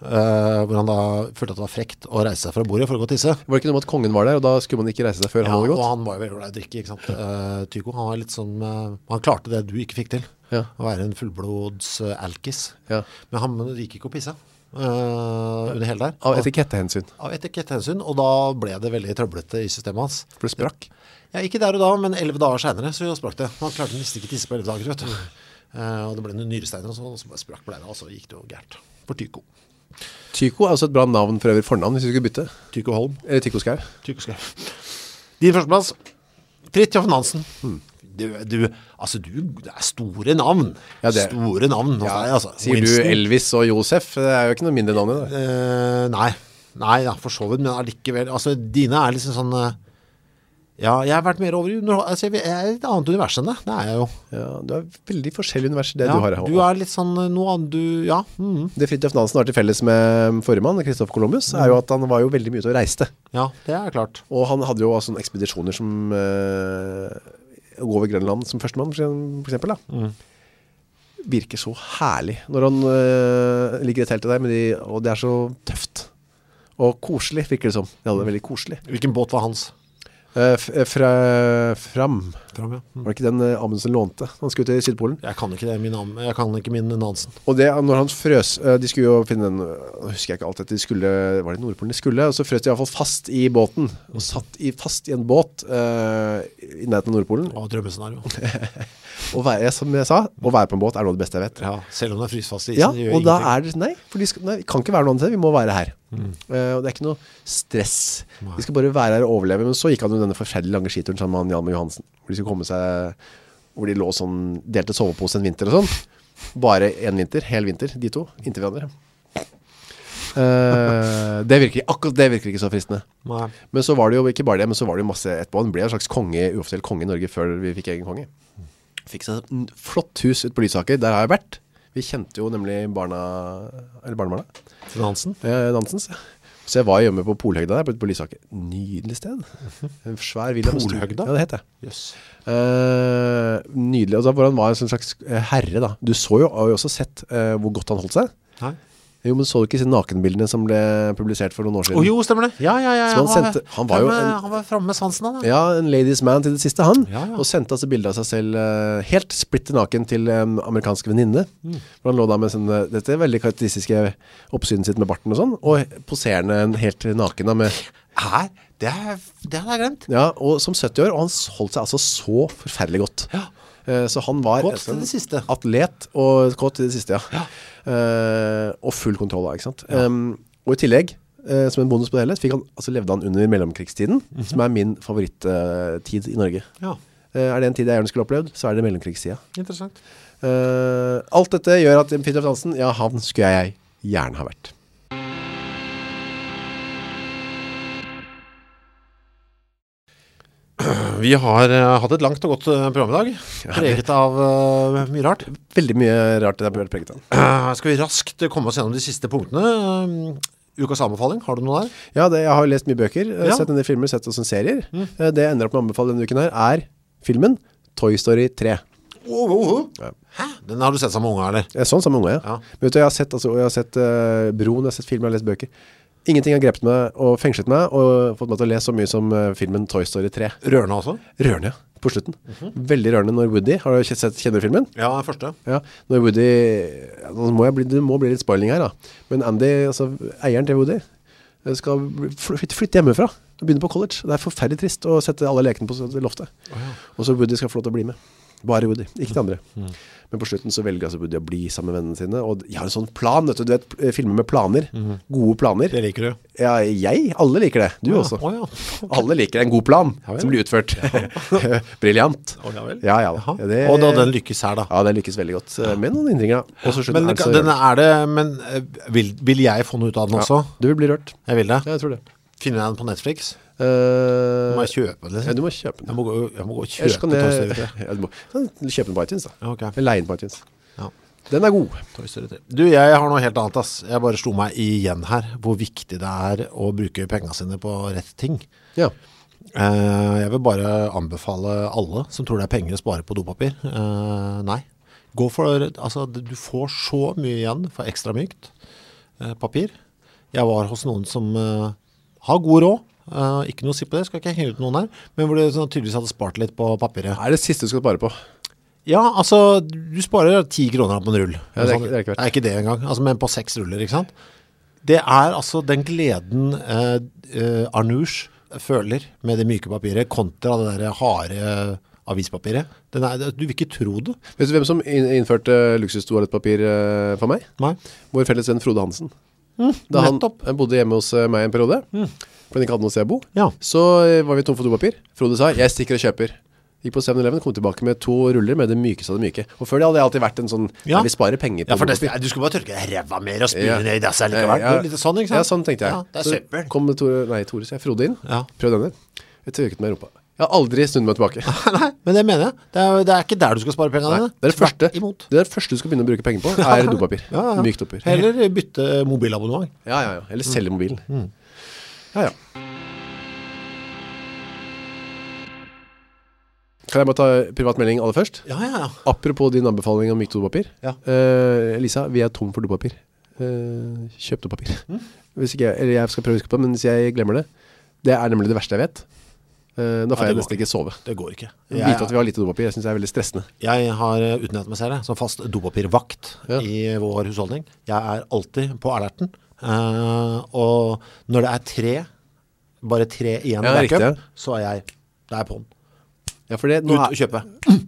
S2: eh, hvor han da følte at det var frekt å reise seg fra bordet for å gå og tisse.
S1: Var det ikke noe med at kongen var der Og da skulle man ikke reise seg før
S2: Ja,
S1: han hadde
S2: og
S1: gått?
S2: han var jo veldig glad i å drikke, ikke sant? Eh, Tycho, han var litt sånn, eh, han klarte det du ikke fikk til.
S1: Ja.
S2: Å være en fullblods eh, alkis.
S1: Ja.
S2: Men han gikk ikke å pisse eh, under hele der.
S1: Av etikettehensyn
S2: Av etikettehensyn, og da ble det veldig trøblete i systemet hans.
S1: For det sprakk
S2: Ja, ikke der og da, men 11 dager senere så sprakk det. Han klarte nesten ikke å tisse på 11 dager, vet du. Eh, og det ble noen nyresteiner og sånn, og så bare sprakk bleina, og så gikk det jo gærent. For Tycho.
S1: Tycho er også et bra navn for øvrig fornavn Hvis du skulle bytte
S2: Tycho Holm.
S1: Eller Tycho Skau Hmm.
S2: Tycho Skau. Din førsteplass. Fridtjof Nansen. du, du, altså du, det er store navn.
S1: Ja, det-
S2: Store navn. hos deg, altså.
S1: Sier du Elvis og Josef? Det er jo ikke noe mindre navn i det.
S2: Eh, nei. Nei, ja, for så vidt, men allikevel. Altså, dine er liksom sånn eh, Ja, jeg har vært mer over i underhold- altså, jeg er i et annet univers enn det. Det er jeg jo.
S1: Ja, du er veldig forskjellig univers i det
S2: Ja,
S1: du har. her.
S2: du er litt sånn eh, noe annet du Ja. mhm.
S1: Det Fridtjof Nansen har til felles med forrige mann, Kristoffer Columbus, er jo at han var jo veldig mye ute og reiste.
S2: ja, det er klart.
S1: Og han hadde jo også sånne ekspedisjoner som eh, å gå over Grønland som førstemann, for eksem- for eksempel. Da. Virker så herlig når han eh, ligger i teltet der, med de, og det er så tøft. Og koselig, virker det som. De hadde det veldig koselig.
S2: Hvilken båt var hans?
S1: Eh, f- eh, fra, fram,
S2: Fram, ja.
S1: var det ikke den eh, Amundsen lånte? Han skulle til Sydpolen.
S2: Jeg kan ikke det, min, am- jeg kan ikke min Nansen.
S1: Og det, når han frøs, eh, de skulle jo finne den, nå husker jeg ikke alt dette, de skulle, var det Nordpolen de skulle, og så frøs de i hvert fall fast i båten, og satt i, fast i en båt eh, i nærheten av Nordpolen.
S2: Det var drømmescenario.
S1: Å være, som jeg sa, å være på en båt er noe av det beste jeg vet.
S2: Ja, selv om det er frysfast i
S1: Ja,
S2: isen, det gjør
S1: og da
S2: ingenting. Mm.
S1: er det, sånn, nei, for de skal, nei, vi kan ikke være noe annet sted, vi må være her. Eh, og det er ikke noe stress.
S2: Nei.
S1: Vi skal bare være her og overleve, men så gikk han jo denne forferdelige lange skituren sammen med han Hjalmar Johansen, hvor de skulle komme seg, hvor de lå sånn, delte sovepose en vinter og sånn. Bare en vinter, hel vinter, de to, inntil hverandre. Eh, det virker, akkurat det virker ikke så fristende.
S2: Nei.
S1: Men så var det jo ikke bare det, men så var det jo masse etterpå. Han ble en slags konge, uoffisiell konge i Norge før vi fikk egen konge. Fikk seg et flott hus ute på Lysaker, der har jeg vært. Vi kjente jo nemlig barna, eller barnebarna,
S2: Til Nansen?
S1: eh, Nansens. ja. Så jeg var hjemme på Polhøgda der, på, på Lysaker. Nydelig sted. En svær villa. med stor-
S2: Polhøgda?
S1: Ja, det heter det.
S2: Jøss.
S1: Eh, nydelig, og da hvor han var en sånn slags eh, herre da. Du så jo, har jo også sett eh, hvor godt han holdt seg.
S2: Nei.
S1: Jo, men så du ikke disse nakenbildene som ble publisert for noen år siden?
S2: Å jo, stemmer det. Ja, ja, ja. ja.
S1: Så han sendte- han var jo
S2: fremme-
S1: en-
S2: han var fremme med svansen, han. Ja.
S1: Ja, en ladies man til det siste han
S2: Ja, ja.
S1: Og sendte altså bilder av seg selv eh, Helt splitter naken til en amerikansk venninne
S2: Mm.
S1: Hvor han lå da med sin, eh, dette veldig karakteristiske oppsynet sitt med barten og sånn Og poserende en helt naken da med,
S2: Her, det, er, det hadde jeg glemt.
S1: ja, og, Som 70 år, og han holdt seg altså så forferdelig godt
S2: Ja.
S1: Eh, Så han var
S2: Kåt til det siste.
S1: Atlet og kåt til det siste, ja, Eh, Og full kontroll da, ikke sant Em, Og i tillegg eh, som en bonus på det hele så fikk han, altså levde han under mellomkrigstiden
S2: Mhm.
S1: Som er min favoritttid i Norge
S2: Ja,
S1: Eh, Er det en tid jeg gjerne skulle opplevd, så er det mellomkrigstida.
S2: interessant.
S1: Eh, alt dette gjør at Fridtjof Nansen, ja, han skulle jeg gjerne ha vært.
S2: Vi har eh, hatt et langt og godt eh, program i dag, preget av eh, mye rart.
S1: Veldig mye rart det har vært preget av.
S2: Eh, skal vi raskt komme oss gjennom de siste punktene? Eh, ukas anbefaling, har du noe der?
S1: Ja, det, jeg har jo lest mye bøker, eh,
S2: Ja.
S1: sett en del filmer, sett også serier. Eh, det jeg ender opp med å anbefale denne uken her, er filmen Toy Story 3.
S2: Oh, Hæ? Den har du sett sammen med unga, eller?
S1: Jeg er sånn sammen med unge, ja.
S2: Ja.
S1: Men vet du, jeg har sett, altså, jeg har sett eh, Broen, jeg har sett filmer, jeg har lest bøker. Ingenting har grept meg og fengslet meg, og fått meg til å lese så mye som eh, filmen Toy Story 3.
S2: Rørende også?
S1: Rørende, på slutten. Veldig rørende når Woody, har du ikke sett, kjenner du filmen?
S2: Ja, den første.
S1: Ja, når Woody ja, Nå må jeg bli, det må bli litt spoiling her da Men Andy, altså eieren til Woody eh, Skal bli- flytte, flytte hjemmefra Og begynne på college Det er forferdelig trist å sette alle lekene på s- loftet Og så Woody skal få lov til å bli med Bare Woody, ikke de andre
S2: Mm.
S1: Men på slutten så velger altså Woody å bli sammen med vennene sine Og de har en sånn plan, vet du, du vet eh, Filmer med planer, gode planer
S2: Mm. Det liker du.
S1: Ja, jeg, alle liker det, du også
S2: Å ja.
S1: Alle liker en god plan
S2: vel.
S1: som blir utført Briljant
S2: Å, ja vel.
S1: Ja, ja,
S2: Jaha.
S1: ja, det-
S2: Og da den lykkes her, da.
S1: ja, det lykkes veldig godt eh, med noen innringer da. Og så Altså, slutten
S2: Men,
S1: er det så
S2: den
S1: rørende.
S2: er det, men eh, vil, vil jeg få noe ut av den også?
S1: Du vil bli rørt
S2: Jeg vil det.
S1: Ja, jeg tror det
S2: Finner jeg den på Netflix?
S1: Eh,
S2: Må jeg kjøpe den?
S1: ja,
S2: Liksom?
S1: du må kjøpe den
S2: Jeg må gå, jeg må gå og kjøpe
S1: Ellers kan
S2: Toy Story
S1: jeg
S2: 3.
S1: ja, du må, sånn, Kjøpe den på iTunes da
S2: Ja, ok.
S1: Eller leie den på iTunes
S2: Ja,
S1: Den er god
S2: Toy Story 3. Du, jeg har noe helt annet, ass. Jeg bare slo meg igjen her, hvor viktig det er å bruke pengene sine på rett ting.
S1: Ja
S2: Eh, jeg vil bare anbefale alle som tror det er penger å spare på dopapir. Eh, nei. Gå for, altså, d- du får så mye igjen for ekstra mykt eh, papir. Jeg var hos noen som eh, har god råd. Eh, ikke noe å si på det, skal ikke henge ut noen her. Men hvor du sånn, tydeligvis hadde spart litt på papiret.
S1: Er det siste du skal spare på?
S2: Ja, altså, du sparer 10 kroner på en rull.
S1: Ja, det er ikke- det er ikke verdt.
S2: Nei, ikke det engang, altså, men på seks ruller, ikke sant? Det er altså den gleden eh, eh, Arnoush føler med det myke papiret kontra det der harde eh, avispapiret. Den er, du vil ikke tro det.
S1: Vet du hvem som inn- innførte luksustoalettpapir eh, for meg?
S2: Nei,
S1: Vår felles venn Frode Hansen Da han
S2: Mm, nettopp. Mm.
S1: eh, bodde hjemme hos eh, meg en periode For han ikke hadde noe sted å bo
S2: Ja.
S1: Så eh, var vi tom for dopapir Frode sa, jeg stikker og kjøper Gikk på 7-Eleven, kom tilbake med to ruller med det mykeste av det myke. Og før det hadde jeg alltid vært en sånn,
S2: Ja.
S1: ja. vi sparer penger på
S2: Ja, for det,
S1: godteri.
S2: du skulle bare tørke ræva mer og spyle
S1: Ja.
S2: ned i dassa likevel.
S1: Ja, ja.
S2: Litt sånn, ikke sant?
S1: Ja, sånn tenkte jeg.
S2: Ja, det er
S1: Så
S2: søppel.
S1: Kom Tore, nei, Tore, sier jeg, Frode inn.
S2: Ja.
S1: Prøv denne. Jeg tørket meg i rumpa. Jeg har aldri stundet meg tilbake.
S2: Nei, men det mener jeg. Det er, det er ikke der du skal spare pengene
S1: Det
S2: dine.
S1: er det
S2: Tvert
S1: første,
S2: Imot.
S1: det er det første du skal begynne å bruke penger på, er dopapir.
S2: Ja, ja.
S1: Mykt dopapir. Ja,
S2: Heller bytte mobilabonnement.
S1: ja, ja.
S2: Mm.
S1: Eller selge mobilen. Ja, ja. Kan jeg bare ta privat melding aller først?
S2: Ja, ja, ja.
S1: Apropos din anbefaling om mykt dopapir.
S2: Ja.
S1: Eh, Lisa, vi er tom for dopapir. Eh, kjøp dopapir.
S2: Mm.
S1: Hvis ikke jeg, eller jeg skal prøve å huske på det, men hvis jeg glemmer det, det er nemlig det verste jeg vet. Eh, da får
S2: det
S1: jeg
S2: går
S1: nesten ikke sove.
S2: Det går ikke.
S1: Vite at vi har lite dopapir, jeg synes det er veldig stressende.
S2: Jeg har eh, utnevnt meg selv jeg, som fast dopapirvakt
S1: Ja.
S2: i vår husholdning. Jeg er alltid på alerten. eh, og når det er tre, bare tre igjen
S1: Ja,
S2: i backup,
S1: riktig, ja.
S2: så er jeg der på den.
S1: Ja, for det, nå,
S2: Ut og
S1: er,
S2: kjøpe.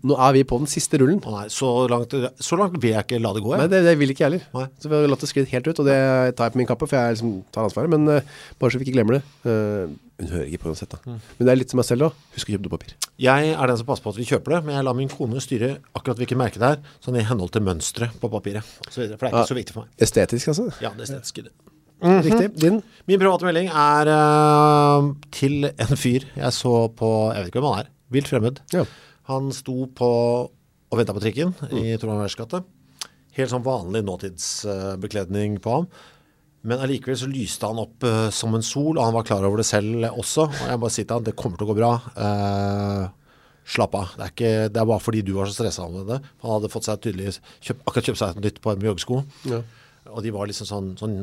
S1: nå er vi på den siste rullen.
S2: Å nei, så langt, så langt vil jeg ikke la det gå.
S1: Nei,
S2: Jeg.
S1: det, det vil ikke jeg heller.
S2: Nei.
S1: Så vi har latt det skritt helt ut, og det tar jeg på min kappe, for jeg liksom tar ansvaret, men eh, bare så vi ikke glemmer det. Eh, hun hører ikke på uansett da. Men det er litt som meg selv da. Mm. Husk å kjøpe dopapir.
S2: jeg er den som passer på at vi kjøper det, men jeg lar min kone styre akkurat hvilket merke det er, sånn i henhold til mønstret på papiret. og Så videre, for det er ikke så viktig for meg.
S1: Estetisk altså.
S2: Ja, det er estetiske.
S1: Riktig, din.
S2: Min private melding er eh, til en fyr jeg så på, jeg vet ikke hvem han er, vilt fremmed.
S1: Ja.
S2: Han sto på og ventet på trikken
S1: Mm.
S2: i Trondheim Verskate. Helt sånn vanlig nåtidsbekledning på ham. Men allikevel så lyste han opp eh, som en sol, og han var klar over det selv eh, også. Og jeg bare sier til han, det kommer til å gå bra. Eh, slapp av. Det er, ikke, det er bare fordi du var så stresset med det. Han hadde fått seg tydeligvis, kjøpt- akkurat kjøpt seg et nytt par med joggesko.
S1: Ja.
S2: Og de var liksom sånn, sånn,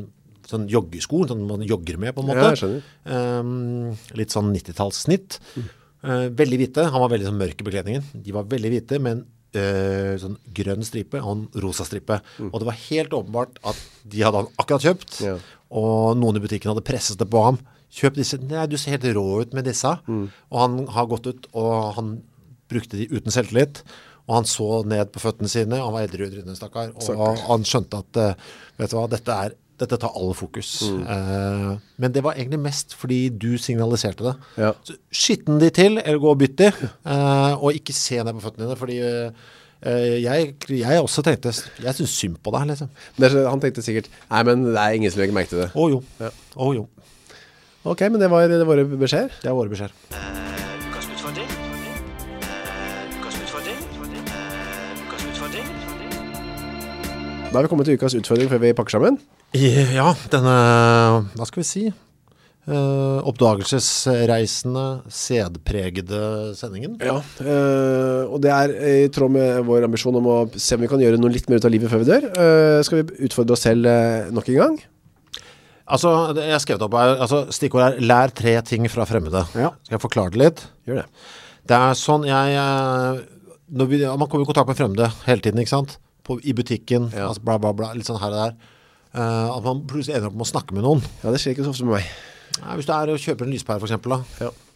S2: sånn joggesko, sånn man jogger med på en
S1: Ja,
S2: måte.
S1: jeg skjønner.
S2: Ehm, litt sånn 90-tallssnitt. Eh, veldig hvite, han var veldig sånn mørk i bekledningen. De var veldig hvite, men eh, sånn grønn stripe og en rosa stripe. Og det var helt åpenbart at de hadde han akkurat kjøpt,
S1: Ja.
S2: og noen i butikken hadde presset det på ham. Kjøp disse, nei, du ser helt rå ut med disse. Og han har gått ut, og han brukte de uten selvtillit, og han så ned på føttene sine, og han var eldre i trynet, stakkar, og han skjønte at, eh, vet du hva, dette er dette tar all fokus. Eh, men det var egentlig mest fordi du signaliserte det.
S1: Ja.
S2: Så skitten de til, eller gå og bytt de, eh, og ikke se ned på føttene dine, fordi eh, jeg, jeg også tenkte, jeg synes synd på deg, liksom.
S1: Det er så- Han tenkte sikkert, nei, men det er ingen som legger merke til det.
S2: Å jo, å jo,
S1: Ok, men det var, det var våre beskjeder.
S2: det er våre beskjeder.
S3: Ukas utfordring. Ukas utfordring. Ukas utfordring.
S1: Da har vi kommet til ukas utfordring før vi pakker sammen.
S2: Ja, denne, hva skal vi si? Eh, oppdagelsesreisende, sedpregede sendingen.
S1: Ja, eh, og det er i tråd med vår ambisjon om å se om vi kan gjøre noe litt mer ut av livet før vi dør. Eh, skal vi utfordre oss selv eh, nok en gang?
S2: Altså, det- jeg har skrevet opp her, altså, stikkord er lær tre ting fra fremmede.
S1: Ja.
S2: Skal jeg forklare det litt?
S1: Gjør det.
S2: Det er sånn jeg eh, når vi, ja, Man kommer i kontakt med fremmede hele tiden, ikke sant? På, I butikken,
S1: Ja.
S2: altså bla bla bla, litt sånn her og der. Eh, at man plutselig ender opp med å snakke med noen.
S1: Ja, det skjer ikke så ofte med meg.
S2: Nei, hvis du er og kjøper en lyspære for eksempel da.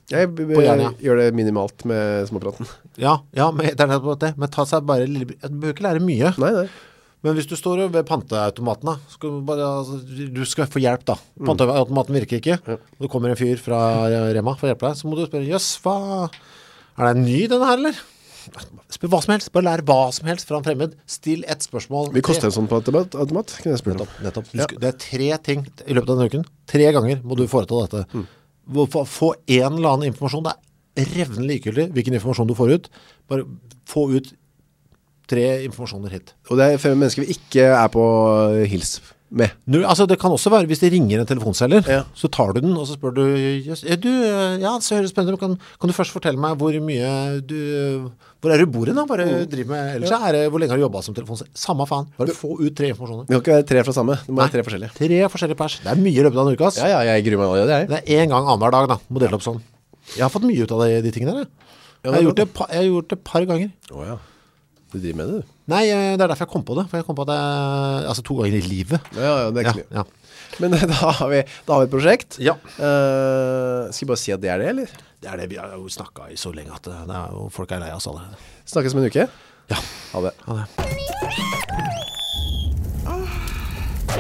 S1: Jeg b- b-
S2: På hjernen,
S1: gjør det minimalt med småpraten.
S2: Ja, ja men, det er nettopp det. Men ta seg bare, en lille- du bør ikke lære mye.
S1: Nei, nei.
S2: Men hvis du står ved panteautomaten da, skal du, bare, altså, du skal få hjelp da.
S1: Mm.
S2: Panteautomaten virker ikke. Og det kommer en fyr fra Rema for å hjelpe deg, så må du spørre, jøss, hva... Er den ny denne her, eller? Spør hva som helst, bare lær hva som helst fra en fremmed. Still et spørsmål.
S1: Vi koster en sånn på automat, automat kan jeg spørre om.
S2: Nettopp, nettopp. Du
S1: Ja.
S2: skal, det er tre ting i løpet av denne uken. Tre ganger må du foreta dette.
S1: Mm.
S2: Hvor- Få, få en eller annen informasjon. Det er revnende likegyldig hvilken informasjon du får ut. Bare få ut tre informasjoner hit.
S1: Og det er fem mennesker vi ikke er på eh, hils med.
S2: Nå, altså, det kan også være hvis det ringer en telefonselger,
S1: Ja.
S2: så tar du den, og så spør du, «Jøss, er du eh, ja, det høres spennende, ut. kan, kan du først fortelle meg hvor mye du, hvor er du bor i da, bare
S1: Mm.
S2: driver med, ellers er det, hvor lenge har du jobbet som telefonselger? Samme faen, bare få ut tre informasjoner.
S1: Det kan ikke være tre fra samme, det må være tre forskjellige.
S2: Tre forskjellige pers, det er mye i løpet av en uke, ass.
S1: Ja, ja, jeg gruer meg allerede, jeg.
S2: Det er en gang annenhver dag da, må dele opp sånn. Jeg har fått mye ut av de, de tingene der, jeg.
S1: Ja, det er
S2: jeg, har
S1: bra,
S2: gjort det, pa- jeg har gjort det et par ganger.
S1: Åja, du driver med det, du.
S2: Nei, eh, det er derfor jeg kom på det, for jeg kom på at jeg, altså to ganger i livet.
S1: Ja, ja, det er
S2: Ja,
S1: ikke mye.
S2: ja.
S1: Men eh, da har vi, da har vi et prosjekt.
S2: Ja.
S1: Eh, skal vi bare si at det er det, eller?
S2: Det er det vi har jo snakket i så lenge at det, det er jo, folk er lei av oss allerede.
S1: Snakkes om en uke.
S2: Ja.
S1: Ha det.
S2: Ha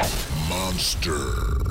S2: det.
S4: Monster.